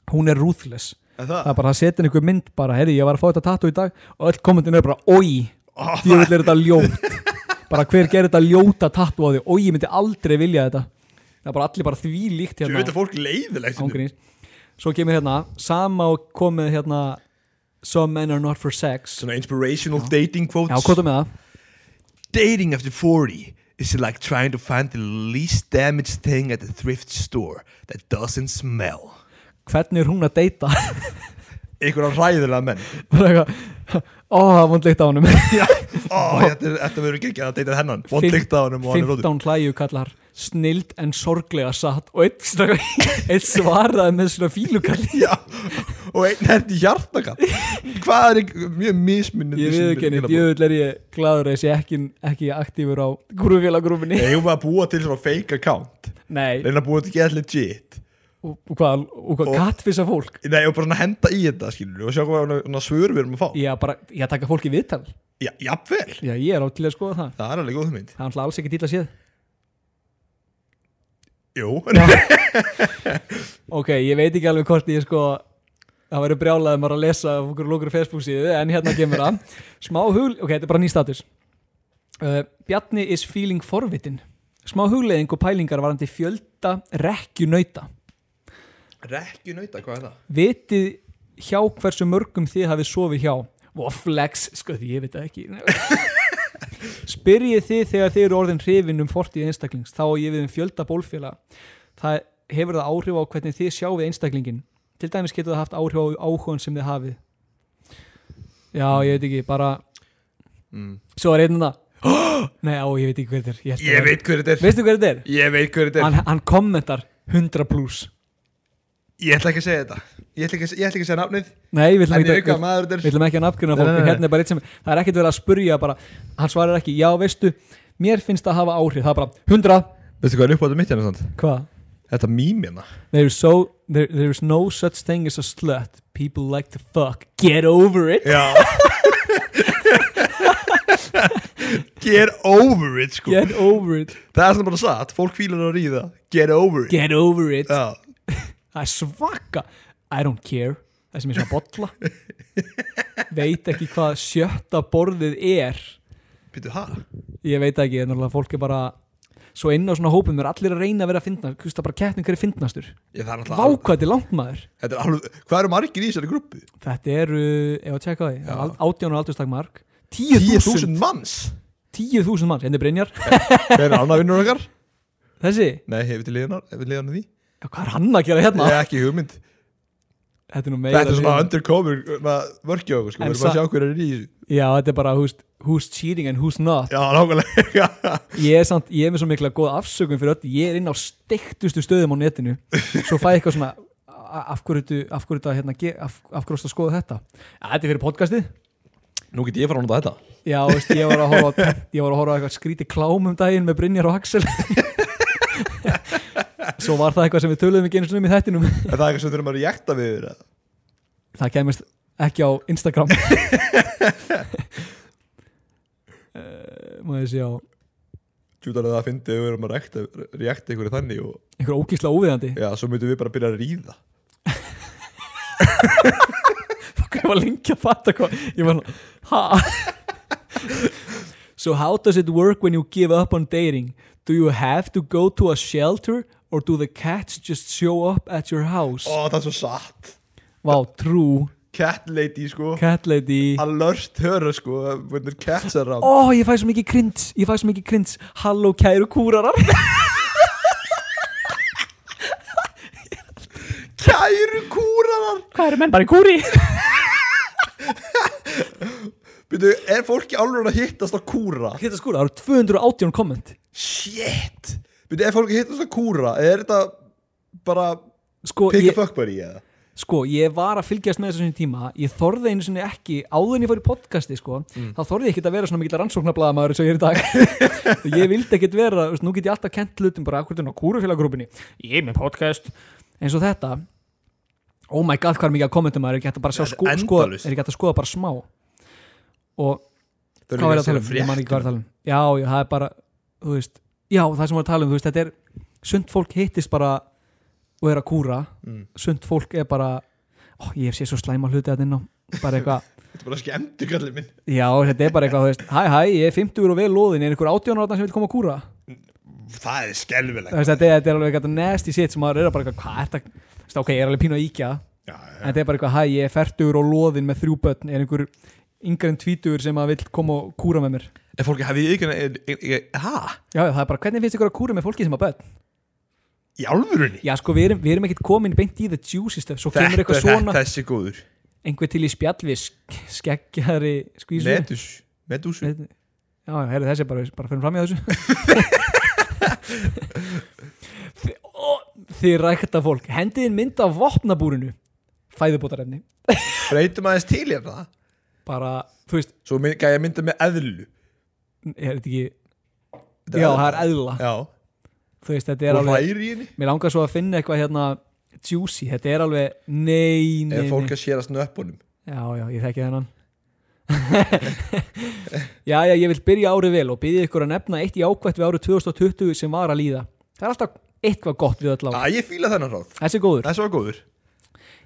Speaker 1: hún er ruthless
Speaker 2: Er
Speaker 1: það
Speaker 2: það?
Speaker 1: er bara að setja einhver mynd bara, herri, ég var að fá þetta tattu í dag og öll kommentin er bara, oi djöfull er þetta ljótt bara hver gerir þetta ljóta tattu á því oi, ég myndi aldrei vilja þetta það er bara allir bara því líkt
Speaker 2: Ég
Speaker 1: hérna
Speaker 2: veit að fólk leiðilegt stundum.
Speaker 1: ángríns svo kemur hérna, sama og komið hérna some men are not for sex
Speaker 2: Svona inspirational dating quotes
Speaker 1: já, hvað er með það?
Speaker 2: Dating after 40 is like trying to find the least damaged thing at the thrift store that doesn't smell
Speaker 1: hvernig er hún að deyta?
Speaker 2: Einhverja ræðilega menn
Speaker 1: bara eitthvað, ó, það er vondleikt á honum
Speaker 2: Ó, þetta er- þetta verður geggjað að deyta hennan Vond lykt á honum og hann er rótur
Speaker 1: 15 hlæju kallar snild en sorglega satt og eitt, svona- eitt svaraði með svona fílukall
Speaker 2: Já, og einn herdi hjartakall Hvað er ekki- mjög mismunandi
Speaker 1: ég viðkenni, djöðull er ég gladur að ég sé ekki, ekki aktífur á grúfélagrúfinni
Speaker 2: Ég var að búa til svona fake account
Speaker 1: nei,
Speaker 2: Reyna að búa til get legit
Speaker 1: og, og hvað, og hvað
Speaker 2: Og-
Speaker 1: kattfissa fólk
Speaker 2: Nei, og bara svona henda í þetta skilur Og sjá hvað svona svör við erum að fá
Speaker 1: ég bara, ég að taka fólki viðtal
Speaker 2: Já, jafnvel
Speaker 1: já, ég er á til að skoða það
Speaker 2: Það er alveg góð mynd
Speaker 1: það er náttúrulega alls ekki dýla séð
Speaker 2: Jú,
Speaker 1: ok, ég veit ekki alveg hvort ég sko það verður brjálað um að lesa af okkur lókur Facebook síðu, en hérna kemur það smá hul, ok, þetta er bara ný status uh, Bjarni is feeling forvitin smá hugleðing og pælingar varandi fjölda rekju nauta
Speaker 2: rekju nauta, hvað er það?
Speaker 1: vitið hjá hversu mörgum þið hafið sofið hjá og flex, sko því ég veit það ekki spyrjið þið þegar þið eru orðin hrifin um fortíð einstaklings þá á ég við um fjölda bólfélag það hefur það áhrif á hvernig þið sjáu einstaklingin til dæmis getur það haft áhrif á áhugan sem þið hafið já, ég veit ekki, bara
Speaker 2: Mm.
Speaker 1: svo er einn það nei, á, ég veit ekki hver þetta er held
Speaker 2: Ég
Speaker 1: að það-
Speaker 2: veit hver þetta er
Speaker 1: veistu hver þetta er?
Speaker 2: Ég veit hver þetta er
Speaker 1: Hann, hann kommentar 100 plus
Speaker 2: Ég ætla ekki að segja þetta Ég ætla ekki að, ég ætla ekki að segja nafnið
Speaker 1: nei, við ætlum
Speaker 2: En ég
Speaker 1: ekki
Speaker 2: auka
Speaker 1: að
Speaker 2: maður
Speaker 1: við
Speaker 2: þetta
Speaker 1: ætlum ekki að nafngruna fólk
Speaker 2: Nei, nei,
Speaker 1: en
Speaker 2: nei.
Speaker 1: hérna er bara eitt sem, það er ekkert verið að spurja bara, hann svarar ekki, já veistu mér finnst það hafa áhrif, það er bara 100,
Speaker 2: er Veistu hvað er upp á þetta mitt hérna samt?
Speaker 1: hvað?
Speaker 2: Þetta hérna. mýmina
Speaker 1: There is, so, there, there is no such thing as a slut People like to fuck Get over it
Speaker 2: Já Get over it sko
Speaker 1: Get over it
Speaker 2: Það er svona bara satt, fólk fílar að ríða Get over it
Speaker 1: Get over it
Speaker 2: Já,
Speaker 1: Það er svaka I don't care Það sem er svona bolla Veit ekki hvað sjötta borðið er
Speaker 2: býttu hæ?
Speaker 1: Ég veit ekki En náttúrulega fólk er bara Svo inn á svona hópum er allir að reyna að vera að finna Kvist að bara kettin hverju finnastur
Speaker 2: Ég þarf alltaf
Speaker 1: Vákvæði langt maður
Speaker 2: Þetta er alveg, hvað eru margir í þessari grúppu?
Speaker 1: Þetta eru, ef að tjekka því
Speaker 2: Já.
Speaker 1: al- 18 og aldurstak mark
Speaker 2: 10.000
Speaker 1: 10.000
Speaker 2: manns
Speaker 1: 10.000 manns, henni Brynjar
Speaker 2: Þeir eru annað vinnur okkar
Speaker 1: Þessi,
Speaker 2: Nei, hefur til liðanar, hefur til liðanar því
Speaker 1: já, hvað er hann að gera hérna?
Speaker 2: Ég er ekki hugmynd
Speaker 1: Þetta er nú meira
Speaker 2: Þetta er svona
Speaker 1: liðin.
Speaker 2: undercover Vörki á okkur sko,
Speaker 1: En
Speaker 2: við erum bara að
Speaker 1: sa-
Speaker 2: sjá hverju er í þessu
Speaker 1: Já, þetta er bara who's, who's cheating and who's not
Speaker 2: Já, nákvæmlega
Speaker 1: Ég er samt, ég er með svo mikla góða afsökun fyrir öll Ég er inn á steiktustu stöðum á netinu Svo fæ ég eitthvað svona a- af hverju þetta, af hverju þetta, hérna, ge- af, af hverju þetta skoða þetta að Þetta er fyrir podcastið
Speaker 2: Nú get ég fara að nota þetta
Speaker 1: Já, veist, ég var að horfa á- ég var að horfa á eitthvað skríti klám um daginn með Brynjar og Axel Svo var það eitthvað sem við töluðum ekki einu sinni um í þettinum
Speaker 2: En það er eitthvað sem þurfum að reakta við þér eða?
Speaker 1: Það kemist ekki á Instagram Eh, Má ég sé á
Speaker 2: Tjútar að það fyndi við erum að reakta, reakta einhverju þannig og
Speaker 1: einhver ógísla óviðandi
Speaker 2: já, svo myndum við bara að byrja að ríða
Speaker 1: Fuck, ég var lengi að fatta hvað Ég var hann So how does it work when you give up on dating? Do you have to go to a shelter or do the cats just show up at your house?
Speaker 2: Ó, það er svo satt
Speaker 1: Vá, true
Speaker 2: Cat lady sko
Speaker 1: Cat lady
Speaker 2: Alert höra sko When the cats are around
Speaker 1: Ó, ég fæ svo mikið krins Ég fæ svo mikið krins Halló, kæru kúrarar
Speaker 2: Kæru kúranar
Speaker 1: Hvað eru menn bara í kúri?
Speaker 2: Býtu, er fólki alveg að hittast að kúra?
Speaker 1: Hitta skúra, það eru 218 komment
Speaker 2: Shit Býtu, er fólki að hittast að kúra? Eða Er þetta bara
Speaker 1: Sko,
Speaker 2: Pick
Speaker 1: ég,
Speaker 2: a fuck buddy eða?
Speaker 1: sko, ég var að fylgjast með þessu sinni tíma Ég þorði einu sinni ekki Áður en ég fór í podcasti, sko
Speaker 2: Mm.
Speaker 1: Þá þorði ég ekkert að vera svona mikið rannsóknablaðamaður eins og ég er í dag Ég vildi ekkert vera þú veist, Nú get ég alltaf kent hlutum bara Akkur þennan á kúrufélagrúpinni
Speaker 3: Ég er með podcast
Speaker 1: Eins og þetta Oh my god, hvað er mikið að kommentum maður Er ekki hægt að bara sjá
Speaker 2: Þetta er
Speaker 1: sko, sko Er
Speaker 2: endalaust.
Speaker 1: ekki hægt að skoða bara smá Og
Speaker 2: Þau eru
Speaker 1: hvað
Speaker 2: líka segja
Speaker 1: er það að tala um, ég man ekki hvað er að tala um já, já, það er bara, þú veist já, það sem við erum að tala um, þú veist, þetta er sund fólk hittist bara og er að kúra
Speaker 2: Mm.
Speaker 1: sund fólk er bara ó, ég sé svo slæma hluti að inn á bara eitthvað,
Speaker 2: Þetta er bara skemmti kallið minn
Speaker 1: já, þetta er bara eitthvað, þú veist hæ, hæ, ég er 50 og vel loðin, er einhver 18 ára sem vil koma að kúra,
Speaker 2: Það er
Speaker 1: þú
Speaker 2: skelvilegt
Speaker 1: veist, þetta er, þetta er alveg eitthvað nasty shit sem maður er að bara eitthvað, hvað er þetta Þú veist, ok, ég er alveg pínu að íkja en
Speaker 2: Já, já.
Speaker 1: þetta er bara eitthvað, hæ, ég er 40 og loðin með þrjú börn, er einhver yngrein tvítugur sem að vil koma og kúra með mér
Speaker 2: Er fólki, hafið ég eitthvað Hæ?
Speaker 1: já, já, það er bara, hvernig finnst ykkur að kúra með fólki sem að börn
Speaker 2: Í alvörunni?
Speaker 1: Já sko við erum, við erum ekkert komin beint í the juicy stuff Svo kemur
Speaker 2: Þetta
Speaker 1: eitthvað
Speaker 2: er þetta,
Speaker 1: svona
Speaker 2: þessi góður
Speaker 1: Einhver til í spjall við sk- skeggjaðri skvísu
Speaker 2: Medus Medus
Speaker 1: Net- Já, já, herri, þessi er bara, bara fyrir fram í þessu Þi- ó, Þið rækta fólk Hendiðin mynd af vopnabúrinu Fæðubótarefni
Speaker 2: Breytum aðeins til hérna
Speaker 1: Bara, þú veist,
Speaker 2: Svo mynd- gæja mynda með eðlu
Speaker 1: er þetta ekki
Speaker 2: Þetta
Speaker 1: Já,
Speaker 2: eðla.
Speaker 1: það er eðla
Speaker 2: Já,
Speaker 1: Þú veist, þetta er
Speaker 2: og
Speaker 1: alveg
Speaker 2: hlæri í henni
Speaker 1: Mér langar svo að finna eitthvað hérna Juicy, þetta er alveg Nei, nei,
Speaker 2: Ef
Speaker 1: nei
Speaker 2: fólk að séra snöppunum
Speaker 1: Já, já, ég þekki þennan Já, já, ég vil byrja árið vel og byrja ykkur að nefna eitt jákvætt við árið 2020 sem var að líða Það er alltaf eitthvað gott við öll á
Speaker 2: Æ, ég fíla þennan ráð
Speaker 1: Þessi er góður
Speaker 2: Þessi var góður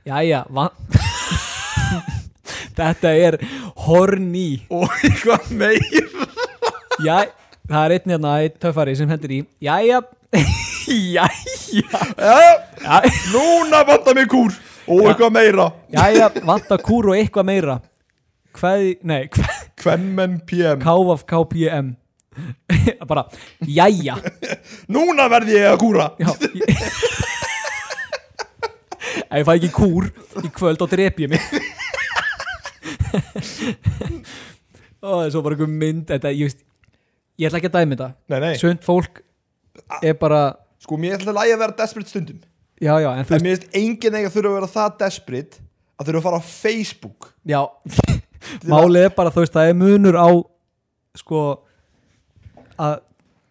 Speaker 1: Já, já, van... Þetta er horny
Speaker 2: Og eitthvað meir
Speaker 1: Já, það er einn hérna, einn töffari sem hendur í Jæja Jæja Já,
Speaker 2: Núna vantar mig kúr Og eitthvað meira
Speaker 1: Jæja, vanta kúr og eitthvað meira Hvað, nei, hvað
Speaker 2: Kvenmenn PM
Speaker 1: Kávaf KPM Bara, jæja
Speaker 2: Núna verð ég að kúra
Speaker 1: Já ég- Ef ég fæ ekki kúr í kvöld þá drep ég mig Ó, það er svo bara einhver mynd þetta, ég, veist, ég ætla ekki að dæmi þetta
Speaker 2: Nei, nei
Speaker 1: Svönd fólk er bara
Speaker 2: Sko, mér ætla að lægja að vera desperate stundum
Speaker 1: Já, já, en
Speaker 2: En
Speaker 1: þú veist
Speaker 2: mér finnst enginn eiga að þurfa að vera það desperate Að þurfa að fara á Facebook
Speaker 1: já, Málið er bara, þú veist, það er munur á
Speaker 2: Mm.
Speaker 1: sko að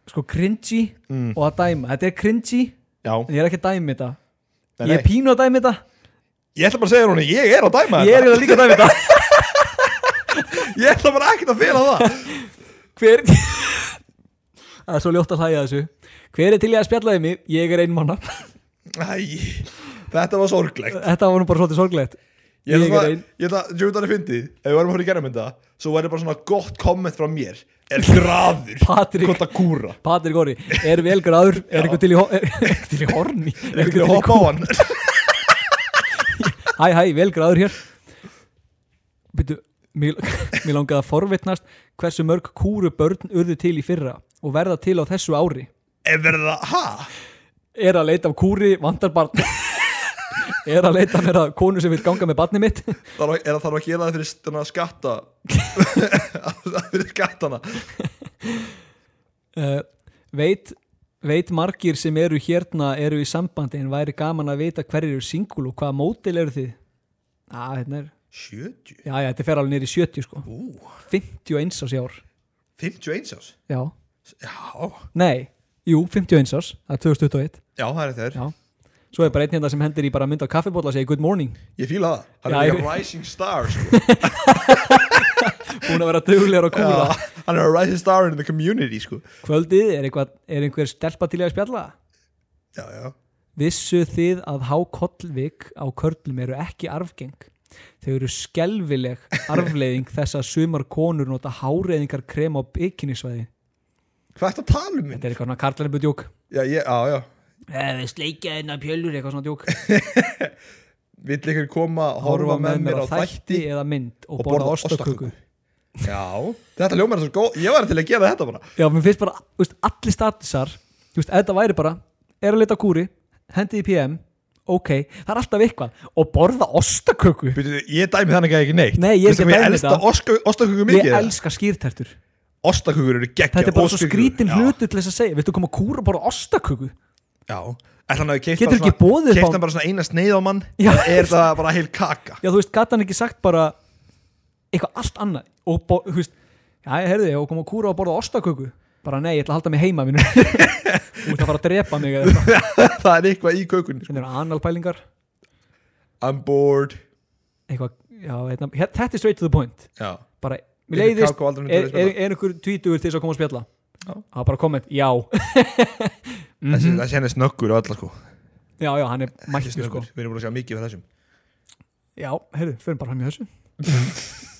Speaker 1: sko cringy og að dæma Þetta er cringy
Speaker 2: Já,
Speaker 1: en ég er ekki að dæmi þetta
Speaker 2: nei,
Speaker 1: ég er
Speaker 2: nei.
Speaker 1: pínu að dæmi þetta
Speaker 2: Ég ætla bara að segja hún Ég er að dæma
Speaker 1: ég er eiginlega líka að dæmi þetta
Speaker 2: Ég ætla bara ekkert að fela það
Speaker 1: hver það er svo ljótt að hlæja að þessu hver er til ég að spjallaði mig, ég er einmána
Speaker 2: Æ, þetta var sorglegt
Speaker 1: þetta var nú bara svolítið sorglegt
Speaker 2: Ég
Speaker 1: Ég er
Speaker 2: ætla að,
Speaker 1: ein.
Speaker 2: ég ætla að, djúvitan er fyndið Ef við varum að horfa í gerðmynda Svo væri bara svona gott komment frá mér Er graður
Speaker 1: Patrik.
Speaker 2: Kota kúra
Speaker 1: Patrik Orri, er vel gráður er einhver til í, ho- er, er til í horni
Speaker 2: Er ekki að hoppa á hann
Speaker 1: hæ hæ, vel gráður hér Býtu, mér, mér langaði að forvitnast hversu mörg kúru börn urðu til í fyrra og verða til á þessu ári
Speaker 2: Er verið það, ha?
Speaker 1: er að leita af kúri, vandar barn er að leita mér að konu sem vil ganga með barni mitt
Speaker 2: Þarf, að- er það þarf að gera það fyrir stundna skatta Fyrir skattana
Speaker 1: uh, veit veit margir sem eru hérna eru í sambandi en væri gaman að vita hverju eru singul og hvaða mótil eru þið að þetta er
Speaker 2: 70?
Speaker 1: já, já, þetta fer alveg niður í 70 sko
Speaker 2: Ú,
Speaker 1: 51 ás í ár
Speaker 2: 51 ás
Speaker 1: já,
Speaker 2: Já
Speaker 1: nei, jú, 51 ás það er 2021
Speaker 2: Já, það er þér
Speaker 1: Já. svo er bara einn hérna sem hendir í bara mynd á kaffibólla og segir good morning
Speaker 2: Ég fíla það Hann
Speaker 1: Já,
Speaker 2: er
Speaker 1: ég-
Speaker 2: líka rising star sko.
Speaker 1: búin að vera duglegar og kúra
Speaker 2: Já, Hann er a rising star in the community sko.
Speaker 1: kvöldið, er, eitthvað, er einhver stelpa til í að spjalla
Speaker 2: Já, já
Speaker 1: vissu þið að hákollvik á körlum eru ekki arfgeng þau eru skelvileg arfleiðing þess að sumar konur nota háreiðingar krem á bygginisvæði
Speaker 2: Hvað ertu að tala um minn?
Speaker 1: þetta er eitthvað svona karlæribu djók
Speaker 2: Já, ég, já, já
Speaker 1: eða sleikja þennan pjölur eitthvað svona djók
Speaker 2: Vill ykkur koma að horfa með mér á þætti
Speaker 1: eða mynd og, borða ostaköku
Speaker 2: Já, þetta ljómar er svo góð Ég var til að gera þetta bara
Speaker 1: já, mér finnst bara, þú veist, allir statusar þú veist, ef þetta væri bara, er að lita kúri hendið í PM, ok það er alltaf eitthvað, og borða ostaköku
Speaker 2: Býtu, Ég dæmi þannig að ekki neitt
Speaker 1: Nei, ég er ekki að dæmi þetta.
Speaker 2: þetta Ostaköku
Speaker 1: ég
Speaker 2: mikið
Speaker 1: elska skýrtertur
Speaker 2: Ostakökur eru geggja
Speaker 1: Þetta er bara svo skrítin hlutur til þess að segja Viltu koma að kúra bara ostaköku?
Speaker 2: Já, ætla hann að keift
Speaker 1: Getur ekki boðið upp á-
Speaker 2: Keift hann bara svona eina sneið á mann
Speaker 1: Já.
Speaker 2: Eða er það bara heil kaka
Speaker 1: Já, þú veist, gata hann ekki sagt bara eitthvað allt annað og, bo- þú veist, já, ég heyrði, og koma að kúra og borða ostaköku bara nei, ég ætla að halda mig heima minu Þú ert að fara að drepa mig eða eitthvað
Speaker 2: Það er eitthvað í kökunni sko.
Speaker 1: Þetta eru analpælingar
Speaker 2: I'm bored
Speaker 1: eitthvað, já, eitna, Þetta er straight to the point
Speaker 2: Já,
Speaker 1: bara, mér
Speaker 2: Viltu
Speaker 1: leiðist,
Speaker 2: kakó aldrei myndi
Speaker 1: er,
Speaker 2: vilja
Speaker 1: er,
Speaker 2: spjalla?
Speaker 1: er einhver tvítugur til þess að koma að spjalla?
Speaker 2: Já.
Speaker 1: Það er bara komment, já Mhm.
Speaker 2: þessi, þessi henni er snöggur og alla sko
Speaker 1: Já, já, hann er
Speaker 2: Þessi
Speaker 1: mættur sko
Speaker 2: snöggur, við erum búin að sjá mikið fyrir þessum
Speaker 1: Já, heyrðu, förum bara fram í þessu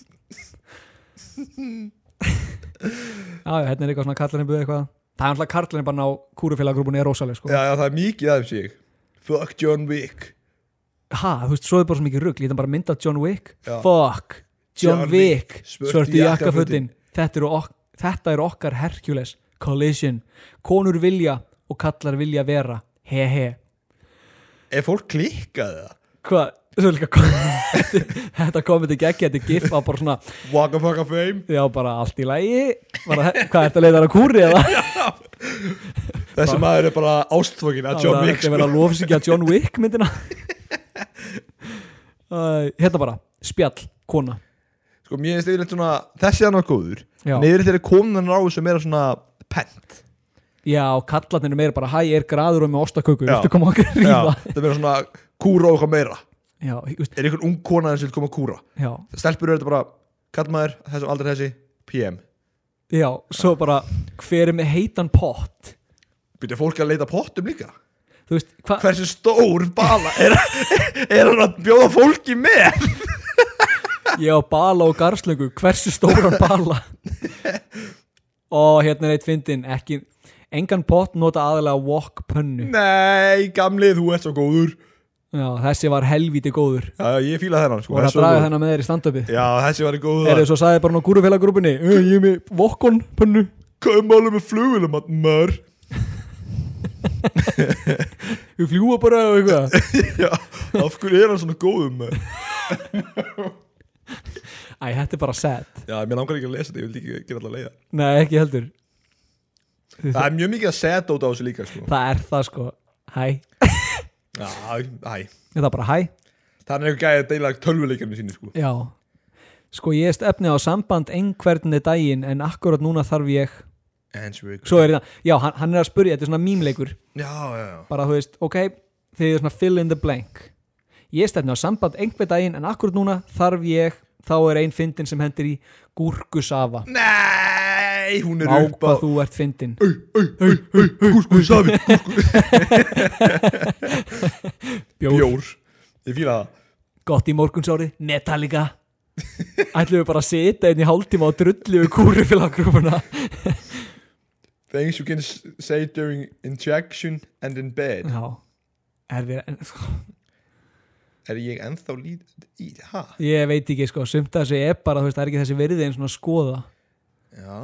Speaker 1: Já, já, hérna er eitthvað svona karlarinn buðið eitthvað Það er alltaf karlarinn bara á kúrufélaggrúbunni er rosaleg sko
Speaker 2: Já, já, það er mikið aðeins ég Fuck John Wick
Speaker 1: Ha, þú veist, svo er bara svo mikið rugl Ég það bara mynda John Wick
Speaker 2: Já.
Speaker 1: Fuck, John,
Speaker 2: John
Speaker 1: Wick,
Speaker 2: Wick, svörtu
Speaker 1: Svörtu
Speaker 2: jakkafötin.
Speaker 1: jakkafötin þetta, eru ok þetta er okkar Hercules Collision Konur vilja og kallar vilja vera He he
Speaker 2: Er fólk klikkað það?
Speaker 1: Hvað, þú veist líka Þetta komið til geggi, þetta er gif á bara svona
Speaker 2: Waka fucka fame
Speaker 1: Já, bara allt í lægi bara, Hvað ertu að leiða hann að kúri eða?
Speaker 2: Þessi maður er bara ástfókin að John Wick sko.
Speaker 1: Þetta er verið að lofsingja John Wick myndina uh, Hérna bara, spjall, kona
Speaker 2: Sko, mér finnst yfirleitt svona, þessi hann var góður
Speaker 1: Já.
Speaker 2: Neyður þeirri konan ráðu sem er svona pent
Speaker 1: Já, kallarnir eru meira bara Hæ, er graður og með ostaköku,
Speaker 2: Já.
Speaker 1: viltu koma okkur að ríða?
Speaker 2: Það er meira svona kúra og eitthvað meira
Speaker 1: Já, þú veist,
Speaker 2: Er einhvern ung kona sem vil koma að kúra
Speaker 1: já,
Speaker 2: Stelpur eru þetta bara, kallmaður, þessum aldrei þessi, PM
Speaker 1: já, svo bara Hver er með heitan pott?
Speaker 2: Byrja fólk að leita pottum líka
Speaker 1: Þú veist, hvað
Speaker 2: Hversu stór bala er, er hann að bjóða fólki með?
Speaker 1: Ég á bala og garslöngu, hversu stóran bala Og hérna er eitt fyndin Ekki, engan pott nota aðalega wok pönnu
Speaker 2: Nei, gamli, þú ert svo góður
Speaker 1: Já, þessi var helvíti góður
Speaker 2: Já, já, ég fíla þennan sko,
Speaker 1: og var að
Speaker 2: þessi var
Speaker 1: draga
Speaker 2: góður.
Speaker 1: þennan með þér í stand-upið
Speaker 2: Já, þessi var góður
Speaker 1: er þess að sagði bara nú gúrufélaggrúpinni ég er með vokkon pönnu
Speaker 2: Kaum alveg með flugulum að maður
Speaker 1: við fljúa bara og eitthvað
Speaker 2: Já, af hverju er hann svona góður maður?
Speaker 1: Æ, þetta er bara sad
Speaker 2: Já, mér langar ekki að lesa þetta, ég vil ekki gera alltaf leiða
Speaker 1: Nei, ekki heldur
Speaker 2: Það er mjög mikið að setja út á þessu líka sko.
Speaker 1: Það er það sko Hæ
Speaker 2: Já, hæ
Speaker 1: Þetta er bara hæ
Speaker 2: Það er eitthvað gæði að deila tölvuleikarnir sínu sko.
Speaker 1: Já Sko, ég er stefni á samband einhvernig daginn en akkurat núna þarf ég
Speaker 2: Answer
Speaker 1: svo er það, já, hann, hann er að spurja þetta er svona mímleikur,
Speaker 2: Já, já, já
Speaker 1: bara þú veist, ok þið er svona fill in the blank ég stefni á samband einhver daginn en akkurat núna þarf ég, þá er ein fyndin sem hendir í gúrkusafa
Speaker 2: Nei, hún er upp á
Speaker 1: ákvað þú ert fyndin
Speaker 2: Gúrsku safi
Speaker 1: bjór,
Speaker 2: Bjór Ég fíla það
Speaker 1: gott í morgunsári, Metallica ætlum við bara að sita einn í hálftíma og drullu við kúrufélagrúfuna
Speaker 2: Things you can s- say during injection and in bed
Speaker 1: já, er við en,
Speaker 2: Er ég ennþá lít í, ha?
Speaker 1: ég veit ekki sko, sumt að þessu er bara þú veist, það er ekki þessi verið einn svona að skoða
Speaker 2: Já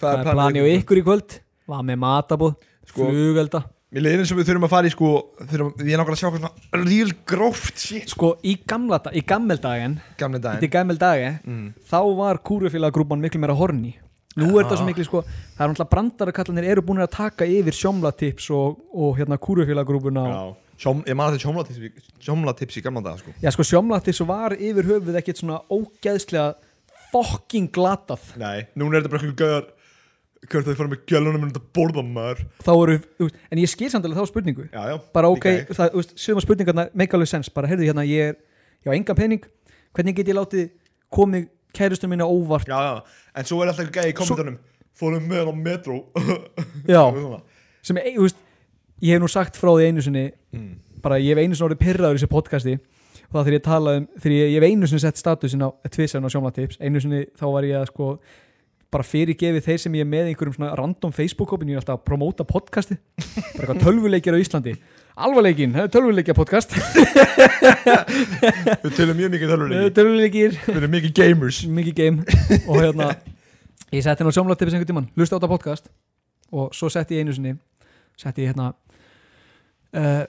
Speaker 1: það er planið á ykkur í kvöld var með matabóð,
Speaker 2: Sko-
Speaker 1: flugelda
Speaker 2: Mér leiðin sem við þurfum að fara í sko þurfum, Við erum nákvæmlega að sjá hvað svona real gróft shit
Speaker 1: sko í gamla dag, í gammel daginn
Speaker 2: Gamle
Speaker 1: þetta
Speaker 2: daginn
Speaker 1: er gammel dagi, þá var kúrufélagrúfan miklu meira horni nú er það svo miklu sko, það er náttúrulega brandarakallanir eru búin að taka yfir sjómlatips og, og hérna kúrufélagrúfuna og,
Speaker 2: Já Sjóm, Ég man að þetta sjómlatips, sjómlatips í gamla dag sko
Speaker 1: Já sko sjómlattis var yfir höfuð ekkert svona ógeðslega fucking glatað
Speaker 2: Nei Núna er þetta bara eitthvað gæðar Hvernig þau fara með gjölunum en þetta borða maður
Speaker 1: þá eru, þú veist, en ég skil samt alveg þá spurningu
Speaker 2: Já, já
Speaker 1: bara ok,
Speaker 2: líka ég.
Speaker 1: það, þú veist, sögum að spurningarna make alveg sense, bara heyrðu hérna ég er já, engan pening, hvernig get ég látið komið kærustum minna óvart
Speaker 2: Já, já En svo er alltaf eitthvað gæði í kommentunum Fórum með hann á metro
Speaker 1: Já.
Speaker 2: Og svona.
Speaker 1: sem er, þú veist, ég hef nú sagt frá því einu sinni
Speaker 2: Mm.
Speaker 1: bara ég hef einu sinni orðið pyrraður í þessu podcasti og það þegar ég talaði um, þegar ég, ég hef einu sinni sett statusin á tvisan á sjómlatips, einu sinni þá var ég að sko bara fyrirgefið þeir sem ég er með í einhverjum svona random Facebook-hópin, ég er alltaf að promóta podcasti bara eitthvað tölvuleikjar á Íslandi alvarleikin, það er tölvuleikja podcast
Speaker 2: Við tölum mjög mikið þörfuleiki
Speaker 1: tölvuleikir,
Speaker 2: Við erum mikið gamers
Speaker 1: mikið game og hérna, ég setti hérna á sjómlatips einhvern tímann, hlusta á þetta podcast og svo setti ég einu sinni setti ég hérna uh,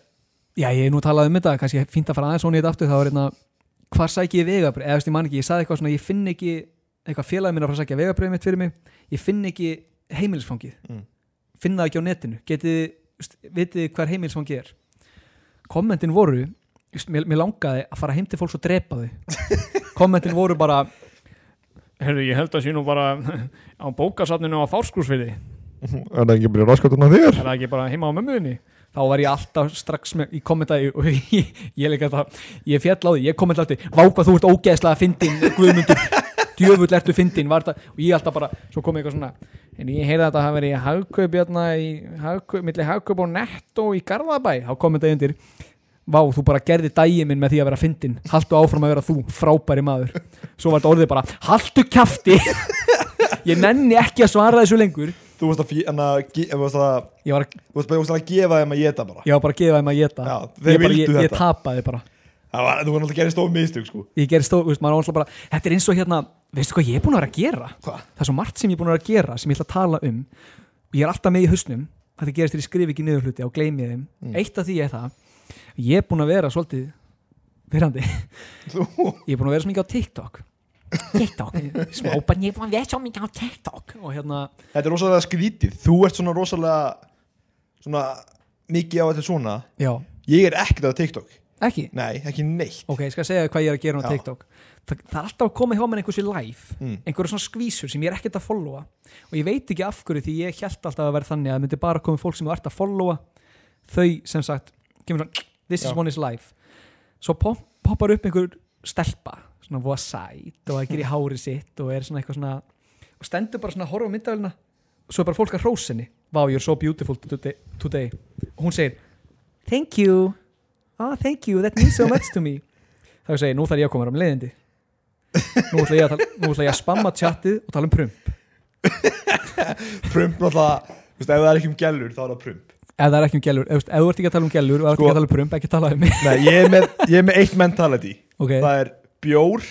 Speaker 1: já, ég hef nú talað um þetta kannski fínt að fara aðeins svona í þetta aftur, þá er hérna hvar sæki ég vegabrið, eða þú veist ég man ekki ég saði eitthvað svona, ég finn ekki eitthvað félagið minna að fara að sækja vegabriðið mitt fyrir mig ég finn ekki heimilisfangið
Speaker 2: Mm.
Speaker 1: finn það ekki á netinu, getið þú veist, vitið þið hver heimilisfangið er kommentin voru þú veist, mér, mér langaði að fara heim til fólks og drepa þau kommentin voru bara
Speaker 3: Herru, ég held að sé nú bara á bókasafninu á Fárskúsfili
Speaker 2: Er það ekki að byrja raskatun á þér?
Speaker 3: Er það ekki bara heima á mömmuðinni?
Speaker 1: þá var ég alltaf strax með, ég kommentaði og ég, ég leika það, ég fjall á því ég kommentaði alltaf, vá hvað þú ert ógeðslega fyndin guðmundur, djöfull ertu fyndin var þetta, og ég alltaf bara, svo kom eitthvað svona en ég heyrði að þetta hafi verið í hagkaup hérna í, hagkaup, milli hagkaup og netto í Garðabæ, þá kommentaði ég undir vá, þú bara gerði dægin minn með því að vera fyndin, haltu áfram að vera þú, frábæri maður svo var þetta orðið bara, haltu kjafti ég nenni ekki að svara þessu lengur
Speaker 2: Þú varst að fí- en að ge- þú varst að-
Speaker 1: ég var,
Speaker 2: þú varst bara- þú varst að gefa þeim að geta bara
Speaker 1: ég var bara að gefa þeim að geta
Speaker 2: Já, þeir
Speaker 1: ég, bara,
Speaker 2: vildu
Speaker 1: ég, ég
Speaker 2: þetta.
Speaker 1: tapaði bara
Speaker 2: Það var, þú var náttúrulega að gera stóð mistug sko
Speaker 1: ég gerði stóð, veist, maður ánsla bara þetta er eins og hérna, veistu hvað ég er búin að vera að gera
Speaker 2: Hva?
Speaker 1: það er svo margt sem ég er búin að vera að gera sem ég ætla að tala um og ég er alltaf með í hausnum þetta gerist þegar ég skrif ekki niður hluti og gleymi þeim
Speaker 2: Mm.
Speaker 1: eitt af því er það ég er búin að vera svolítið verandi, ég
Speaker 2: Þú,
Speaker 1: er búin að vera svo mikið á TikTok TikTok, smá bara ég er búin að vera svo mikið á TikTok og hérna,
Speaker 2: þetta er rosalega skrítið Þú ert svona rosalega Svona mikið á þetta svona
Speaker 1: já,
Speaker 2: Ég er ekkert á TikTok
Speaker 1: ekki
Speaker 2: Nei, ekki neitt
Speaker 1: ok, ég skal segja þér hvað ég er að gera á
Speaker 2: Já.
Speaker 1: TikTok Þa, það er alltaf að koma hjá mér einhversu live
Speaker 2: Mm.
Speaker 1: einhverju svona skvísur sem ég er ekkert að followa og ég veit ekki af hverju því ég held alltaf að vera þannig að það myndi bara komið fólk sem þú ert að followa þau sem sagt kemur svona,
Speaker 2: Já.
Speaker 1: this is one is live svo pop, poppar upp einhver stelpa svona voða sæt og að gera í hári sitt og er svona eitthvað svona og stendur bara svona að horfa á myndavælina og svo er bara fólk að hrósa henni wow, you're so beautiful today, today. og hún segir thank you ah, thank you, that means so much to me þá segir, nú þarf ég að koma um leiðindi nú ætla ég að, tala- nú ætla ég að spamma tjattið og tala um prump
Speaker 2: Oh. Prump náttúrulega Þú veist, ef það er ekki um gælur þá er það prump
Speaker 1: ef það er ekki um gælur, ef, þú veist, ef þú ert ekki að tala um gælur og ef þú ert ekki að tala um prump, ekki tala um mig
Speaker 2: Nei, ég er með, ég er með eitt mentality
Speaker 1: ok,
Speaker 2: Það er bjór,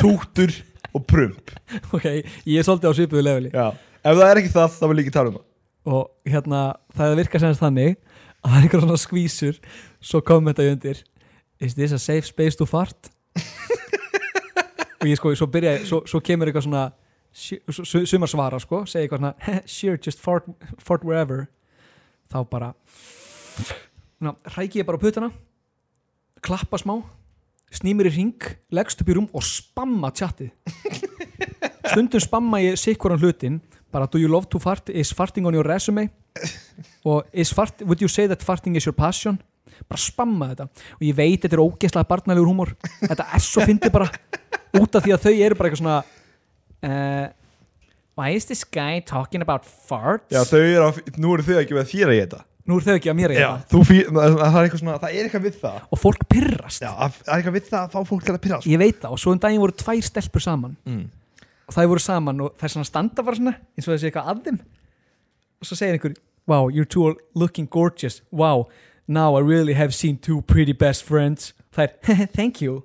Speaker 2: túktur og prump
Speaker 1: ok, ég er svolítið á svipuðu leveli
Speaker 2: Já Ef það er ekki það, þá vil ég ekki tala um það
Speaker 1: og hérna, það virkar sem sagt þannig að það er einhver svona skvísur svo kommenta ég undir is this a safe space to fart? og ég sko, svo byrja ég- svo, svo kemur eitthvað svona su- su- sumar svara sko, segja eitthvað svona sure, just fart, fart wherever þá bara Ná, ræki ég bara á puttana klappa smá snýmur í ring, leggst upp í rúm og spamma tjatti stundum spamma ég sikkur hann hlutin bara do you love to fart, is farting on your resume og is fart, would you say that farting is your passion bara spamma þetta og ég veit þetta er ógeðslega barnalegur húmor þetta er svo fyndi bara út af því að þau eru bara eitthvað svona uh, why is this guy talking about farts
Speaker 2: Já, þau eru að, nú eru þau að gefa þér að geta
Speaker 1: nú er þau ekki að mér
Speaker 2: Já,
Speaker 1: eiga
Speaker 2: þú fýr, það það er eitthvað svona, það er eitthvað við það
Speaker 1: og fólk pyrrast
Speaker 2: Já, að- það er eitthvað við það að fá fólk til að pyrra sko.
Speaker 1: ég veit það og svo um daginn voru tvær stelpur saman
Speaker 2: mm.
Speaker 1: og það voru saman og það er svona standa bara svona eins og það sé eitthvað að þeim og svo segir einhver wow you're two are looking gorgeous wow now I really have seen two pretty best friends það er thank you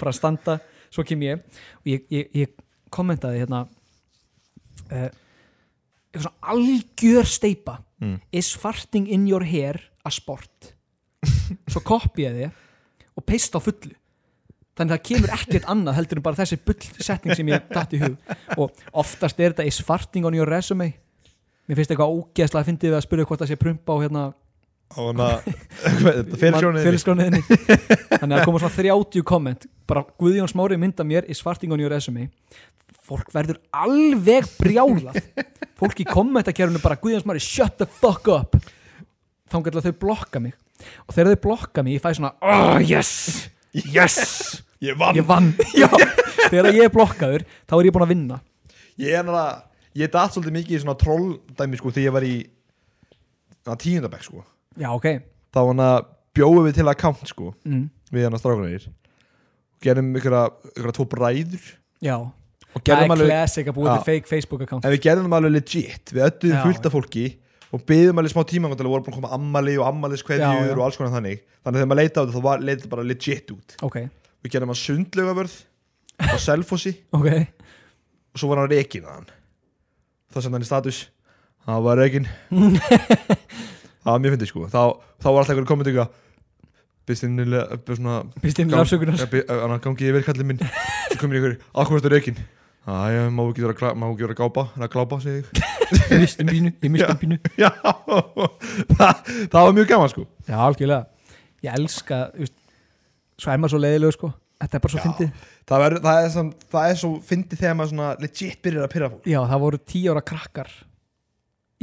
Speaker 1: bara standa svo kem ég og ég, ég, ég kommentaði hérna uh, eitthvað svona algjör steipa
Speaker 2: Mm.
Speaker 1: is farting in your hair a sport svo kopjaði ég og peist á fullu þannig það kemur ekkert annað heldur en bara þessi bullsetning sem ég datt í hug og oftast er þetta is farting on your resume mér finnst eitthvað ógeðslega að fyndið við að spyrja hvort það sé prumpa á hérna
Speaker 2: Og hana, hvað, þetta fyrir sjónið
Speaker 1: fyrirskjóniðinni þannig að koma svona 30 komment bara Guðjón Smári mynda mér í svartingun í resume fólk verður alveg brjálað fólk í kommentakjærunu bara Guðjón Smári shut the fuck up þá getur þau blokka mig og þegar þau blokka mig ég fæ svona oh yes, yes
Speaker 2: Ég vann,
Speaker 1: ég vann Já, þegar ég er blokkaður þá er ég búinn að vinna
Speaker 2: ég er hana, ég datt svolítið mikið í svona trolldæmi sko Þegar ég var í hana, tíundabæk sko
Speaker 1: já ok
Speaker 2: Þá hana bjóðum við til account sko
Speaker 1: mm.
Speaker 2: Við hana strákunarnir Gerðum ykkur að tvo bræður
Speaker 1: já
Speaker 2: Og
Speaker 1: það er
Speaker 2: gerðum alveg
Speaker 1: classic að búið
Speaker 2: Já.
Speaker 1: til fake Facebook account
Speaker 2: En við gerðum það alveg legit, við öttuðum
Speaker 1: Já,
Speaker 2: fullt af fólki og byggðum alveg smá tíma til að voru búin að koma ammali og
Speaker 1: Já, já.
Speaker 2: ammaliskveðjur og alls konar þannig Þannig að þegar maður leita á þetta þá var- leit þetta bara legit út
Speaker 1: ok
Speaker 2: Við gerðum hann sundlaugavörð á Selfossi
Speaker 1: ok
Speaker 2: og svo var hann rekin að hann Þá sem hann í status, hann var rekin Það var mjög fyndið sko, þá, þá var alltaf einhverjum komið til eitthvað Bist innilega, byrst svona
Speaker 1: býst ég mér afsökunar
Speaker 2: Þannig gangi yfir kallið minn Svo komir ykkur, akkur þetta rekin Æja, má ekki vera, að klá- má ekki vera að gápa, að glápa, segi ég
Speaker 1: ég misti mínu, ég misti mínu
Speaker 2: Já, það, það var mjög gaman sko
Speaker 1: já algjörlega, ég elska þú veist, svo er maður svo leiðilegu sko þetta er bara svo fyndið,
Speaker 2: Það, ver, það, er, sem, það er svo fyndið þegar maður svona legit byrjar að pyrra fólk
Speaker 1: já það voru tíu ára krakkar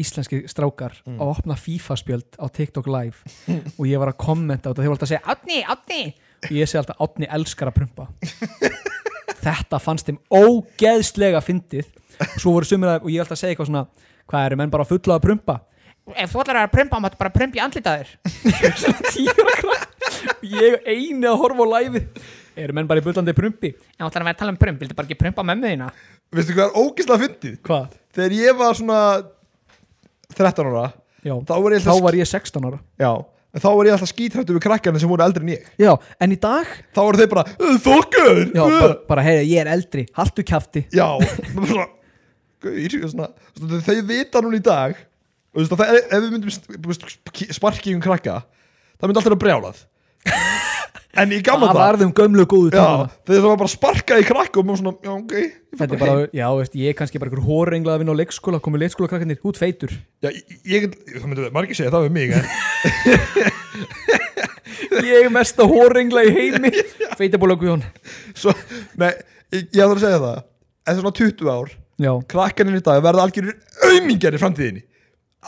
Speaker 1: íslenski strákar
Speaker 2: Mm.
Speaker 1: að opna FIFA spjöld á TikTok live og ég var að kommenta á þetta, þeir voru alltaf að segja Átni, Átni og ég segi alltaf Átni elskar að prumpa þetta fannst þeim ógeðslega fyndið svo voru sumir að, og ég var alltaf að segja eitthvað svona hvað eru menn bara fulla að prumpa
Speaker 4: Ef þú ætlar að prumpa, máttu bara prumpa í andlitaðir.
Speaker 1: tíra krakk ég eini að horfa á live eru menn bara í bullandi prumpi
Speaker 4: Ef þú ætlar að vera að tala um prump, viltu bara ekki prumpa mömmuðina?
Speaker 2: Veistu hvað er ógislega fyndið?
Speaker 1: hvað?
Speaker 2: Þegar ég var svona 13 ára
Speaker 1: Já,
Speaker 2: Þá var ég
Speaker 1: þá
Speaker 2: alltaf,
Speaker 1: var ég 16 ára
Speaker 2: já, en þá var ég alltaf skítrættu við krakkana sem voru eldri en ég
Speaker 1: Já, en í dag
Speaker 2: Þá voru þeir bara, "Ö, þokkur
Speaker 1: Já,
Speaker 2: ö."
Speaker 1: bara, bara heyra, ég er eldri, haltu kjafti
Speaker 2: já maður bara, gaur, svona, svona, Þau vita núna í dag og, þú veist, það, Ef við myndum st- þú veist, sparki um krakka Það myndi alltaf vera brjálað En ég gamla
Speaker 1: Það varðum gömlu góðu
Speaker 2: Já,
Speaker 1: tíma
Speaker 2: þegar það var bara sparkað í krakk og maður svona, já, ok ég fer
Speaker 1: Þetta er
Speaker 2: bara
Speaker 1: bara,
Speaker 2: heim.
Speaker 1: já, veist, ég er kannski bara einhver hórenglað að vinna á leikskóla, komið leikskóla krakkarnir út feitur
Speaker 2: Já, ég, ég, það myndum við, margir segja það við mig en,
Speaker 1: Ég er mesta hóringla í heimi Feitaból og Guðjón
Speaker 2: svo, Nei, ég, ég þarf að segja það Eftir svona 20 ár,
Speaker 1: Já,
Speaker 2: krakkaninn í dag verða algjörur aumingjar í framtíðinni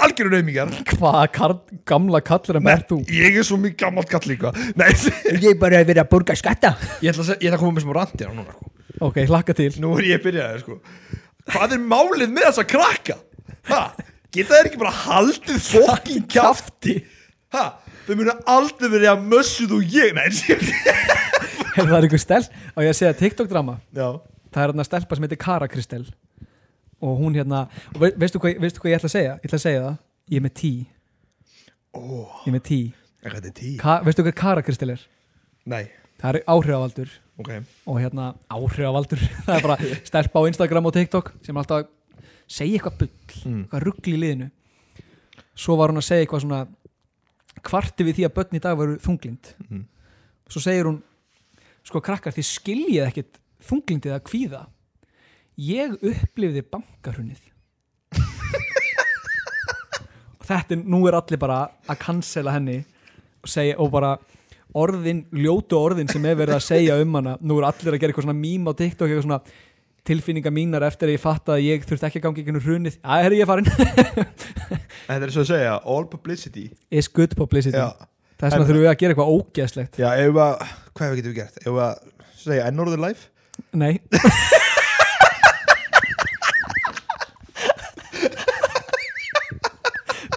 Speaker 2: Algjörur aumingjar
Speaker 1: hvað karl, gamla kallir en verð þú?
Speaker 2: Ég er svo mikið gammalt kall líka Nei, ég
Speaker 1: Ég bara hef verið að borga skatta
Speaker 2: ætla að, segja, ég ætla að koma með smá randir á núna sko.
Speaker 1: Ok, hlakka til
Speaker 2: Nú er ég byrjaði, sko Hvað er málið með þessa krakka? Ha, geta þeir ekki bara haldið fokkin kjafti? Ha, þau munu aldrei verið að mössuð og ég Nei, ég
Speaker 1: Hefur það er einhver stelp og ég að segja TikTok drama
Speaker 2: Já,
Speaker 1: það er hérna stelpa sem heitir Kara Kristel og hún hérna og ve veistu, hvað, veistu hvað ég ætla að segja? Ég ætla að segja það, ég er með tí
Speaker 2: Ó.
Speaker 1: ég er með tí,
Speaker 2: eitthvað þetta er tí
Speaker 1: Ka veistu hvað Kara Kristel er?
Speaker 2: Nei,
Speaker 1: það er áhrifavaldur
Speaker 2: ok
Speaker 1: og hérna áhrifavaldur það er bara stelpa á Instagram og TikTok sem er alltaf að segja eitthvað bull eitthvað ruggl í liðinu svo var hún að segja eitthvað svona kvarti við því að börn í dag veru þunglind svo segir hún sko krakkar þið skiljið ekkit þunglindið að kvíða ég upplifði bankarunnið og þetta er, nú er allir bara að cancela henni og segja og bara orðin, ljótu orðin sem er verið að segja um hana nú er allir að gera eitthvað svona mím á TikTok eitthvað svona tilfinningar mínar eftir að ég fatt að ég þurfti ekki að gangi einhvern runið, að herri ég er farin
Speaker 2: En þetta er svo að segja, all publicity
Speaker 1: is good publicity,
Speaker 2: Já,
Speaker 1: þess vegna
Speaker 2: En-
Speaker 1: þurfum við að gera eitthvað ógeðslegt,
Speaker 2: já ef að, hvað hefur getum við gert? Ef að, svo segja, enn orðið live?
Speaker 1: nei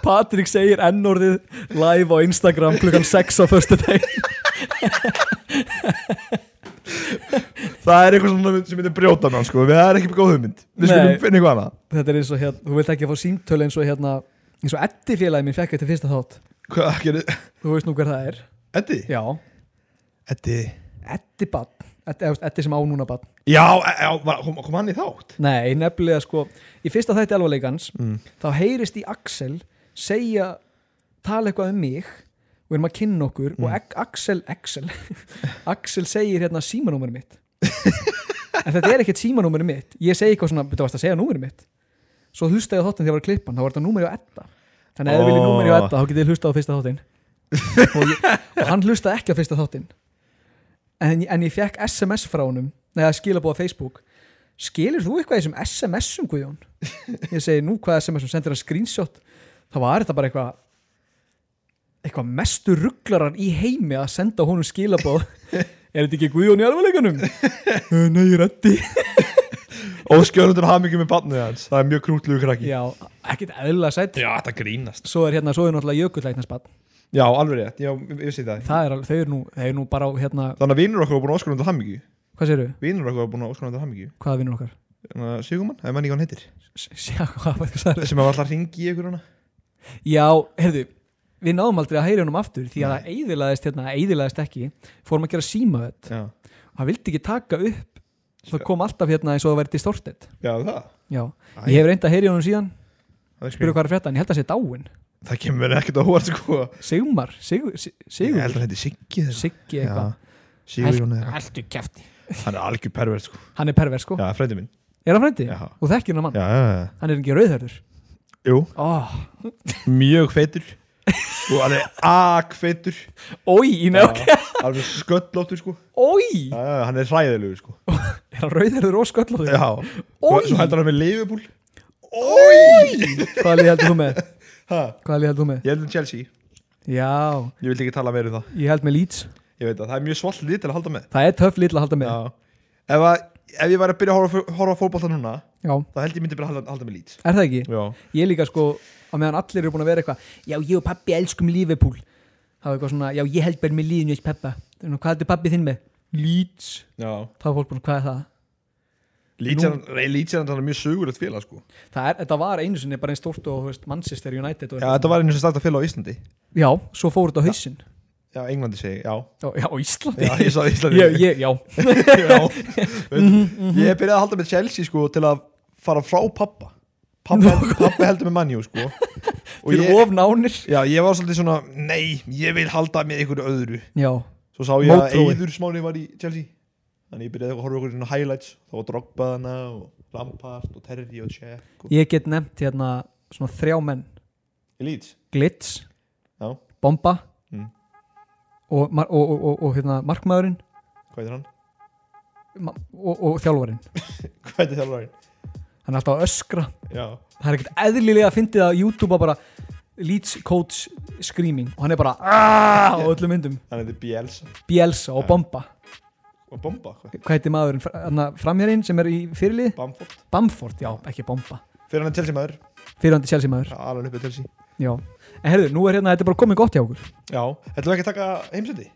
Speaker 1: Patrik segir ennorðið live á Instagram klukkan 6 á förstu deg
Speaker 2: Það er eitthvað svona mynd sem myndir brjóta mann, sko Það er ekki góð hugmynd Við
Speaker 1: Nei.
Speaker 2: skulum finna eitthvað annað
Speaker 1: þetta er eins og hérna, þú vilt ekki að fá símtölu eins og hérna eins og Eddi félagi minn fekk þetta fyrsta þátt
Speaker 2: Hvað gerir,
Speaker 1: þú veist nú hver það er
Speaker 2: Eddi?
Speaker 1: já,
Speaker 2: Eddi
Speaker 1: Eddi bann Eddi, Eddi sem á núna bann
Speaker 2: Já, e- já var, kom, kom hann í þátt?
Speaker 1: nei, nefnilega sko, í fyrsta þætti alvarleikans
Speaker 2: Mm.
Speaker 1: þá heyrist í Axel segja, tala eitthvað um mig við erum að kynna okkur og Ag- Axel, Axel Axel segir hérna símanúmerið mitt en þetta er ekkert símanúmerið mitt ég segi eitthvað svona, þetta varst að segja númerið mitt svo hlusta ég á þáttin þegar ég var að klippa hann þá var þetta númerið á Edda þannig að ef þið viljið
Speaker 2: Ó.
Speaker 1: númerið á Edda þá getið þið hlusta á fyrsta þáttin og, ég, og hann hlustaði ekki á fyrsta þáttin en, en ég fekk SMS frá honum neða skilabóða Facebook skilur þú eitthvað í þessum SMS-um Guðjón? ég segi nú hvað SMS-um sendir hann screenshot þá var þetta bara eitthvað eitthvað mestu ruglarar í heimi að senda honum skilabóð er þetta ekki Guðjón í alvarleikunum? Nei, ég er Eddi
Speaker 2: Óskjörundur hamingjum með barnið hans Það er mjög krútlegu krakki
Speaker 1: Já, ekkert eðlilega sætt
Speaker 2: Já, þetta grínast
Speaker 1: Svo er hérna, svo er náttúrulega jökullæknarsbann
Speaker 2: Já, alveg rétt, já, ég vissi það
Speaker 1: Það er alveg, þau eru nú, þau eru nú bara á hérna
Speaker 2: Þannig að vinur okkar var búin að óskjörundur hamingju
Speaker 1: Hvað séru?
Speaker 2: Vinur okkar var búin að óskjörundur hamingju
Speaker 1: Hvaða vinnur okkar?
Speaker 2: Sigumann, ef mann ekki hvað hann heitir
Speaker 1: S- Sjá, hvað var það?
Speaker 2: Sem að var alltaf hringi í ykkur hana
Speaker 1: Já, heyrðu, við náðum aldrei að heyra honum aftur Því að það eðilaðist, hérna, eðilaðist ekki Fórum að gera símaðut
Speaker 2: Já,
Speaker 1: Hann vildi ekki taka upp Það kom alltaf hérna eins og það væri distorted
Speaker 2: já það
Speaker 1: Já,
Speaker 2: Æ.
Speaker 1: ég hef reynd að heyra honum síðan
Speaker 2: Það, er
Speaker 1: Spyrir
Speaker 2: skrýt.
Speaker 1: hvað er frétta, en ég held að sé dáin
Speaker 2: það kemur ekkert á hóart sko
Speaker 1: Sigmar, Sigur, Si-
Speaker 2: Ég held að
Speaker 1: Sigur
Speaker 2: þetta er Siggi þeirra
Speaker 1: Siggi eitthvað,
Speaker 2: Sigurjón er
Speaker 4: Haltu kæfti
Speaker 2: Hann er algjör pervert sko
Speaker 1: hann er pervers sko
Speaker 2: Já, frændi minn
Speaker 1: Er hann frændi?
Speaker 2: Já.
Speaker 1: Og þekkir hann mann,
Speaker 2: Já, já, já
Speaker 1: hann er ekki rauðhörður
Speaker 2: Jú,
Speaker 1: oh.
Speaker 2: mjög feitur Og hann er akfeitur
Speaker 1: Ói, nei, ok,
Speaker 2: Alveg sköllóttur sko
Speaker 1: ói
Speaker 2: Já, já, já, hann er hræðilegur sko
Speaker 1: Er hann rauðherður og sköllóttur?
Speaker 2: Já Svo
Speaker 1: Oj.
Speaker 2: svo heldur hann með Liverpool Ói
Speaker 1: Hvaða lið heldur þú með?
Speaker 2: Ha,
Speaker 1: Hvaða lið heldur þú með?
Speaker 2: Ég held um Chelsea
Speaker 1: Já,
Speaker 2: Ég vildi ekki tala meira um það
Speaker 1: ég held með Leeds
Speaker 2: Ég veit að það er mjög svolt lið til að halda með
Speaker 1: Það er töff lið til að halda með
Speaker 2: Já Ef, að, ef ég væri að byrja að horfa, horfa fótbolta núna
Speaker 1: Já,
Speaker 2: þá held ég myndi bara halda, halda með lít
Speaker 1: er það ekki?
Speaker 2: Já
Speaker 1: Ég líka sko, á meðan allir eru búin að vera eitthvað Já, ég og pabbi elskum Liverpool Það var eitthvað svona, já, ég held bara með liðinu ekki peppa Nú, Hvað heldur pabbi þinn með? Leeds
Speaker 2: Já
Speaker 1: Það var fólk búin, hvað er það?
Speaker 2: Leeds er- Nei, Leeds er hann mjög sögulegt félag sko
Speaker 1: Það er, þetta var einu sinni bara einn stórt og, þú veist, Manchester United og
Speaker 2: Já, þetta var einu sem starta félag á Íslandi
Speaker 1: Já, svo fór þetta á hausinn
Speaker 2: Já, Englandi segi, ég, já
Speaker 1: Já, já, á Íslandi
Speaker 2: Já, ég sagði Íslandi
Speaker 1: Ég, ég, já,
Speaker 2: já, veit, Ég byrjaði að halda með Chelsea sko til að fara frá pappa Pappa, pappa heldur með Manjú sko Og
Speaker 1: fyrir
Speaker 2: ég,
Speaker 1: of nánir
Speaker 2: já, ég var svolítið svona Nei, ég vil halda með einhverju öðru
Speaker 1: Já,
Speaker 2: Svo sá ég að
Speaker 1: Mótþrói.
Speaker 2: Eður smáni var í Chelsea Þannig ég byrjaði að horfa okkur svona highlights Það var Drogba hana og Lampard og Terry og Cech og...
Speaker 1: ég get nefnt hérna svona þrjá menn
Speaker 2: Elite
Speaker 1: Glitz,
Speaker 2: Já,
Speaker 1: Bomba
Speaker 2: Mm.
Speaker 1: og, mar- og, og, og, og hérna, markmaðurinn
Speaker 2: hvað heitir hann?
Speaker 1: ma- og, og þjálfarinn
Speaker 2: Hvað heitir þjálfarinn?
Speaker 1: hann er alltaf að öskra
Speaker 2: Já,
Speaker 1: það er ekkert eðlilega að fyndið að YouTube bara Leeds Coach Screaming og hann er bara "Ah!" á öllum myndum
Speaker 2: hann heitir Bielsa
Speaker 1: Bielsa og Bomba
Speaker 2: Og Bomba, hvað?
Speaker 1: hvað heitir maðurinn, Fra- hérna, framherinn sem er í fyrirlið
Speaker 2: Bamford
Speaker 1: Bamford, já, ekki Bomba
Speaker 2: Fyrir hann er Chelsea maður
Speaker 1: fyrirhandi Chelsea maður,
Speaker 2: Já, alveg uppið Chelsea
Speaker 1: já en herðu, nú er hérna, þetta er bara komið gott hjá okkur
Speaker 2: Já, ætlum við ekki að taka heimsendi?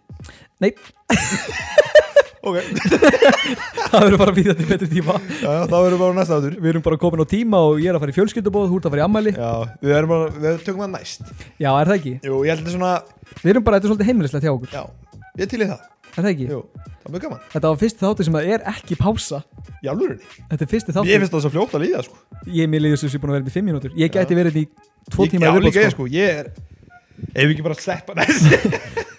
Speaker 1: nei,
Speaker 2: Ok,
Speaker 1: það verður bara að býta til betri tíma
Speaker 2: já, þá erum við bara á næsta áttur
Speaker 1: við erum bara komin á tíma og ég er að fara í fjölskyldubóð þú ert að fara í ammæli,
Speaker 2: Já, við erum bara, við tökum það næst
Speaker 1: já, er það ekki
Speaker 2: Jú, ég held þetta svona,
Speaker 1: við erum bara, þetta er svolítið heimilislegt hjá okkur,
Speaker 2: já, ég til í það
Speaker 1: er það ekki
Speaker 2: Jú, það er mjög gaman
Speaker 1: Þetta var fyrsti þáttur sem að er ekki pása
Speaker 2: Í alvörunni
Speaker 1: Þetta er fyrsti
Speaker 2: Ég
Speaker 1: þáttur
Speaker 2: finnst það svo fljótt að líða, sko
Speaker 1: Ég er mér liður sem sé búin að vera hérna í 5 mínútur Ég gæti verið hérna í 2
Speaker 2: Ég-
Speaker 1: tíma
Speaker 2: Já, líka ég, sko, ég er Ef við ekki bara sleppa næst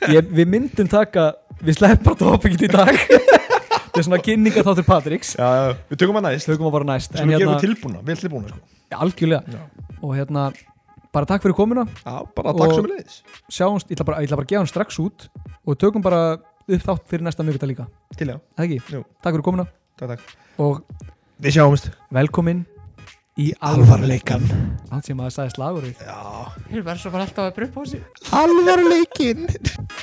Speaker 1: ég, Við myndum taka Við sleppum bara tópikinn í dag Þetta er svona kynninga þáttur Patriks
Speaker 2: Já, já, við tökum það næst
Speaker 1: Þau koma bara næst
Speaker 2: Svo
Speaker 1: En
Speaker 2: við
Speaker 1: hérna,
Speaker 2: gerum tilbúna, vel tilbúna, sko
Speaker 1: algjörlega Og hérna, bara takk fyrir komuna
Speaker 2: Já, bara
Speaker 1: Og-
Speaker 2: takk sem við leiðis
Speaker 1: Sjáumst, ég ætla bara, ég ætla bara að gefa hann strax út Og tökum bara upp þátt fyrir næsta mjög líka
Speaker 2: Til já,
Speaker 1: Það ekki?
Speaker 2: Jú.
Speaker 1: Takk fyrir komuna
Speaker 2: takk, takk
Speaker 1: Og
Speaker 2: Við sjáumst
Speaker 1: velkomin í
Speaker 2: Alvarleikan
Speaker 1: allt sem að það sagði slagurinn
Speaker 2: Já
Speaker 4: Þeir verður svo bara alltaf að prumpa á sig
Speaker 2: Alvarleikin